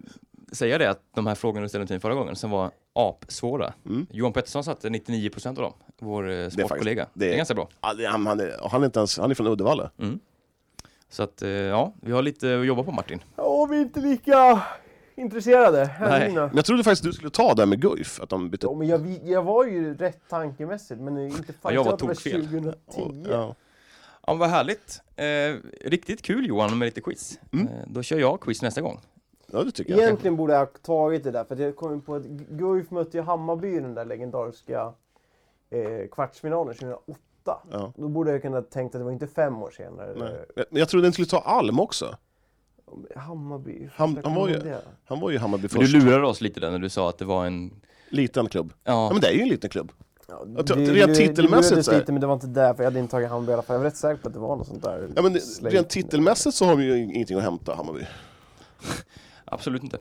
A: säga det att de här frågorna du ställde till mig förra gången som var apsvåra. Johan Pettersson satte 99% av dem, vår eh, sportkollega.
B: det är-
A: det är ganska bra.
B: Ja, det- Han, han, är, han, är inte ens, han är från Uddevalla.
A: Så att eh, ja, vi har lite att jobba på Martin.
C: Ja, vi är inte lika intresserade.
A: Nej.
C: Här
B: Men jag trodde faktiskt du skulle ta det här med Guif, att de bytte...
C: Ja, men jag, vi- jag var ju rätt tankemässigt, men inte fan.
A: Ja, jag var
C: att det
A: tokfel.
C: 2010.
B: Ja.
A: Ja, men vad härligt. Eh, riktigt kul Johan med lite quiz. Eh, då kör jag quiz nästa gång.
B: ja, det tycker jag.
C: Egentligen borde jag ha tagit det där, för att jag kom in på att Guif mötte ju Hammarby i den där legendariska eh, kvartsfinalen 2008.
B: Ja.
C: Då borde jag kunna tänkt att det var inte fem år senare.
B: Nej. Men Jag trodde den skulle ta Alm också.
C: Hammarby,
B: Han,
C: första
B: han, var,
C: gången
B: ju,
C: det.
B: han var ju Hammarby
A: Men du
B: först.
A: lurade oss lite där när du sa att det var en...
B: Liten klubb. Ja.
A: Ja,
B: men det är ju en liten klubb.
C: Ja,
B: tror- rent
C: det-
B: titelmässigt
C: det gjordes
B: så här-
C: lite, men det var inte därför. Jag hade inte tagit Hammarby i alla fall. Jag var rätt säker på att det var något sånt där.
B: Ja, men det-
C: slate.
B: rent titelmässigt så har de ju ingenting att hämta, Hammarby.
A: absolut inte.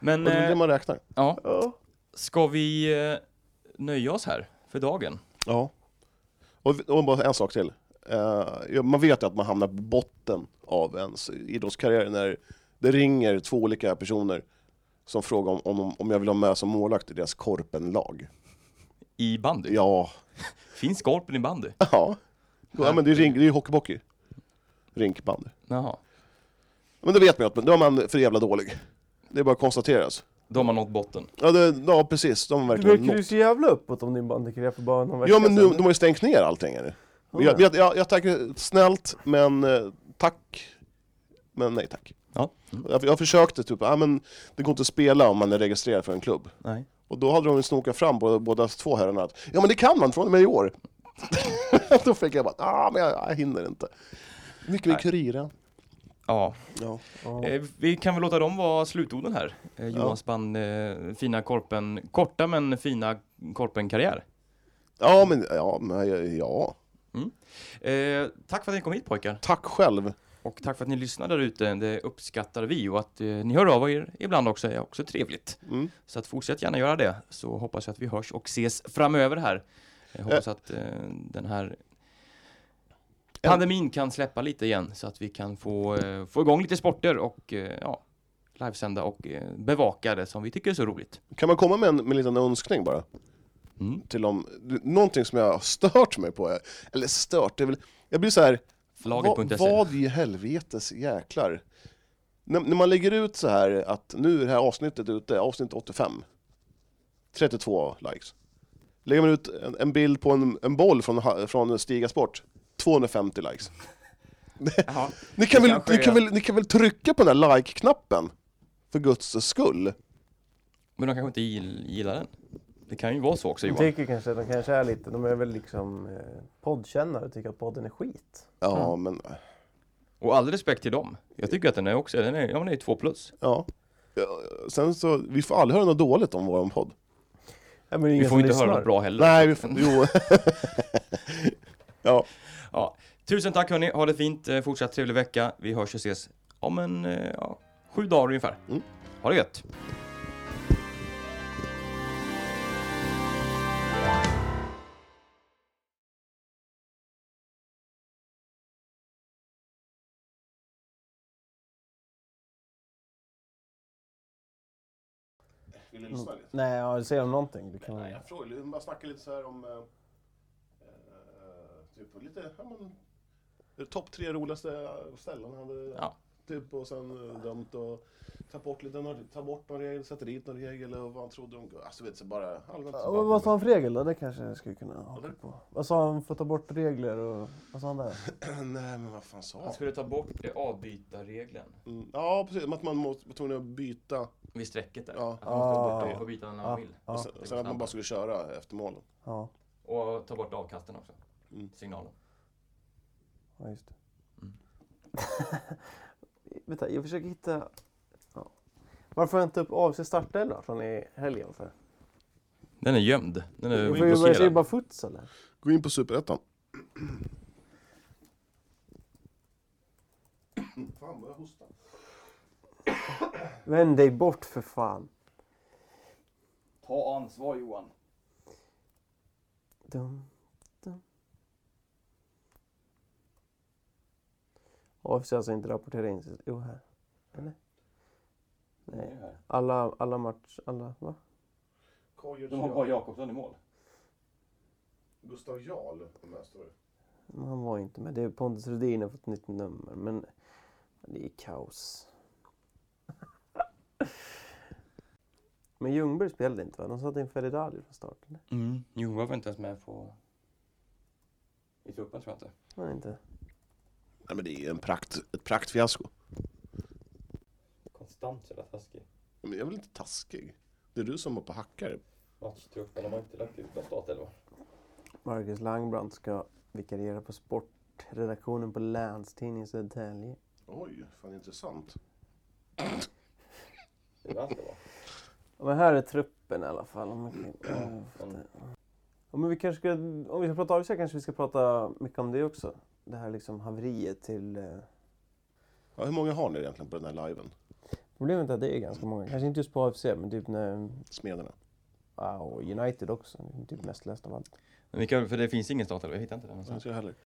A: Men
B: Och det är det
A: eh,
B: man räknar.
A: ja,
C: Ja.
A: ska vi eh, nöja oss här för dagen?
B: Ja. Och, och bara en sak till. Eh, ja, man vet ju att man hamnar på botten av ens idrottskarriär när det ringer två olika personer som frågar om, om, om jag vill ha med som målvakt i deras korpenlag.
A: I bandy?
B: Ja,
A: Finns Korpen i bandy?
B: ja. ja men det är ju det är hockeybockey. Rinkbandy.
A: Jaha.
B: Men då vet man ju att då är man för jävla dålig. Det är bara att konstateras.
A: Då har man nått botten.
B: Ja, det, ja precis, de har
C: Du
B: verkligen
C: verkar
B: nått
C: ju så jävla uppåt om din bandykarriär för bara någon vecka
B: Ja men nu,
C: sedan.
B: de har ju stängt ner allting här.
C: Ja.
B: Jag, jag, jag, jag tackar snällt, men eh, tack. Men nej tack.
A: Ja.
B: Jag, jag försökte typ, ah, men det går inte att spela om man är registrerad för en klubb.
A: Nej.
B: Och då hade de ju snokat fram båda, båda två herrarna att, ja men det kan man från och med i år. då fick jag bara, ah men jag, jag hinner inte. Mycket vid kuriren.
A: Ja.
B: Ja.
A: Eh, vi kan väl låta dem vara slutorden här. Eh, Johans band, eh, fina korpen, korta men fina korpenkarriär.
B: ja men, ja, men ja, ja.
A: Eh, tack för att ni kom hit pojkar.
B: Tack själv.
A: Och tack för att ni lyssnar där ute. Det uppskattar vi och att eh, ni hör av er ibland också är också trevligt.
B: Mm.
A: Så att fortsätt gärna göra det så hoppas jag att vi hörs och ses framöver här. Jag hoppas att eh, den här pandemin kan släppa lite igen så att vi kan få, eh, få igång lite sporter och eh, ja, livesända och eh, bevaka det som vi tycker är så roligt.
B: Kan man komma med en, med en liten önskning bara?
A: Mm.
B: Till om, du- någonting som jag har stört mig på, eller stört, det är väl, jag blir så här.
A: Laget.se.
B: vad- vad i helvetes jäklar? När, när man lägger ut så här att nu är det här avsnittet ute, avsnitt 85, 32 likes. Lägger man ut en, en bild på en, en boll från, ha- från Stiga Sport, 250 likes.
A: Jaha.
B: Ni kan, väl,
A: kanske
B: ni, kan
A: är-
B: väl, ni kan väl trycka på den här like-knappen? För guds skull.
A: Men de kanske inte gill- gillar den. Det kan ju vara så också
C: Jag
A: Johan.
C: tycker kanske att de kanske är lite, de är väl liksom eh, poddkännare och tycker att podden är skit.
B: Ja,
A: Mm.
B: men...
A: Och all respekt till dem. Jag tycker att den är också, den är, ja men den är två plus.
B: Ja. Ja, Sen så, vi får aldrig höra något dåligt om vår podd.
C: Ja, men det är
A: Vi
C: ingen
A: får
C: som
A: inte höra
C: lyssnar.
A: något bra heller.
B: Nej, vi får, jo. ja,
A: Ja. Tusen tack hörni, ha det fint, Eh, fortsatt trevlig vecka. Vi hörs och ses om en, eh, ja, sju dagar ungefär.
B: Mm.
A: Ha det gött!
B: vill du lyssna lite?
C: Nej, ja, säg om någonting. Du kan...
B: Nej, jag frågar, jag bara snackar lite så här om... eh, eh, typ lite, ja men... eh, Topp tre roligaste ställen han hade...
A: Ja.
B: Typ och sen eh, dömt och tagit bort lite, några- ta bort någon regel, sätta dit någon regel och vad han trodde om... Alltså vet du, så bara allmänt.
C: Ja,
B: så
C: men
B: bara-
C: vad sa han för regel då? Det kanske jag skulle kunna haka på. Vad sa han för att ta bort regler och vad sa han där?
B: Nej men vad fan sa
A: Han
B: han?
A: skulle ta bort eh, avbytarregeln
B: Mm, Ja precis, att man måste, var tvungen att byta.
A: vid strecket där.
B: Ja.
A: Att man måste ta bort
C: Ah.
A: dem och byta när man
C: Ja,
A: vill.
B: Och
C: ja,
B: sen, sen att man bara skulle köra efter målen.
C: ja,
A: Och ta bort avkasten också.
B: Mm.
A: Signalen.
C: ja, just det. Vänta, jag försöker hitta... Ja. Varför har jag inte upp AFC startelva från i helgen för?
A: Den är gömd. Den är
C: Jag får ju jag ser ju
A: blockerad.
C: bara futs eller?
B: Gå in på Superettan. Fan vad jag hostar.
C: Vänd dig bort för fan.
A: Ta ansvar Johan.
C: Dum, dum. AFC har alltså inte rapporterat in sig? Jo, här. Eller? Nej. Alla, alla match... Alla, va?
A: De har bara Jakobsson i mål.
B: Gustav Jarl möste du.
C: Men Han var ju inte med. Det är Pontus Rudin har fått nytt nummer, men det är kaos. men Ljungberg spelade inte va? De satte in Ferry Dali från start, eller?
A: Mm. Johan var inte ens med på... I truppen tror jag inte.
C: Nej, inte.
B: Nej men det är ju en prakt, ett praktfiasko.
F: Konstant jävla taskig.
B: Men jag är väl inte taskig? Det är du som hoppar hackare.
F: Matchtruppen har inte lagt ut någon startelva.
C: Marcus Langbrandt ska vikariera på sportredaktionen på Länstidningen Södertälje.
B: Oj, fan intressant.
F: Det är ganska bra.
C: Ja, men här är truppen i alla fall. Om vi, ja, men vi kanske ska, om vi ska prata AFC kanske vi ska prata mycket om det också. Det här liksom haveriet till... eh,
B: Ja, hur många har ni egentligen på den här liven?
C: Problemet är att det är ganska många. Kanske inte just på AFC, men typ när eh,
B: Smederna?
K: Ja, och United också. Typ näst läst av allt.
C: typ Men vi kan, för det finns ingen startelva, jag hittar inte den någonstans.
A: Inte jag heller.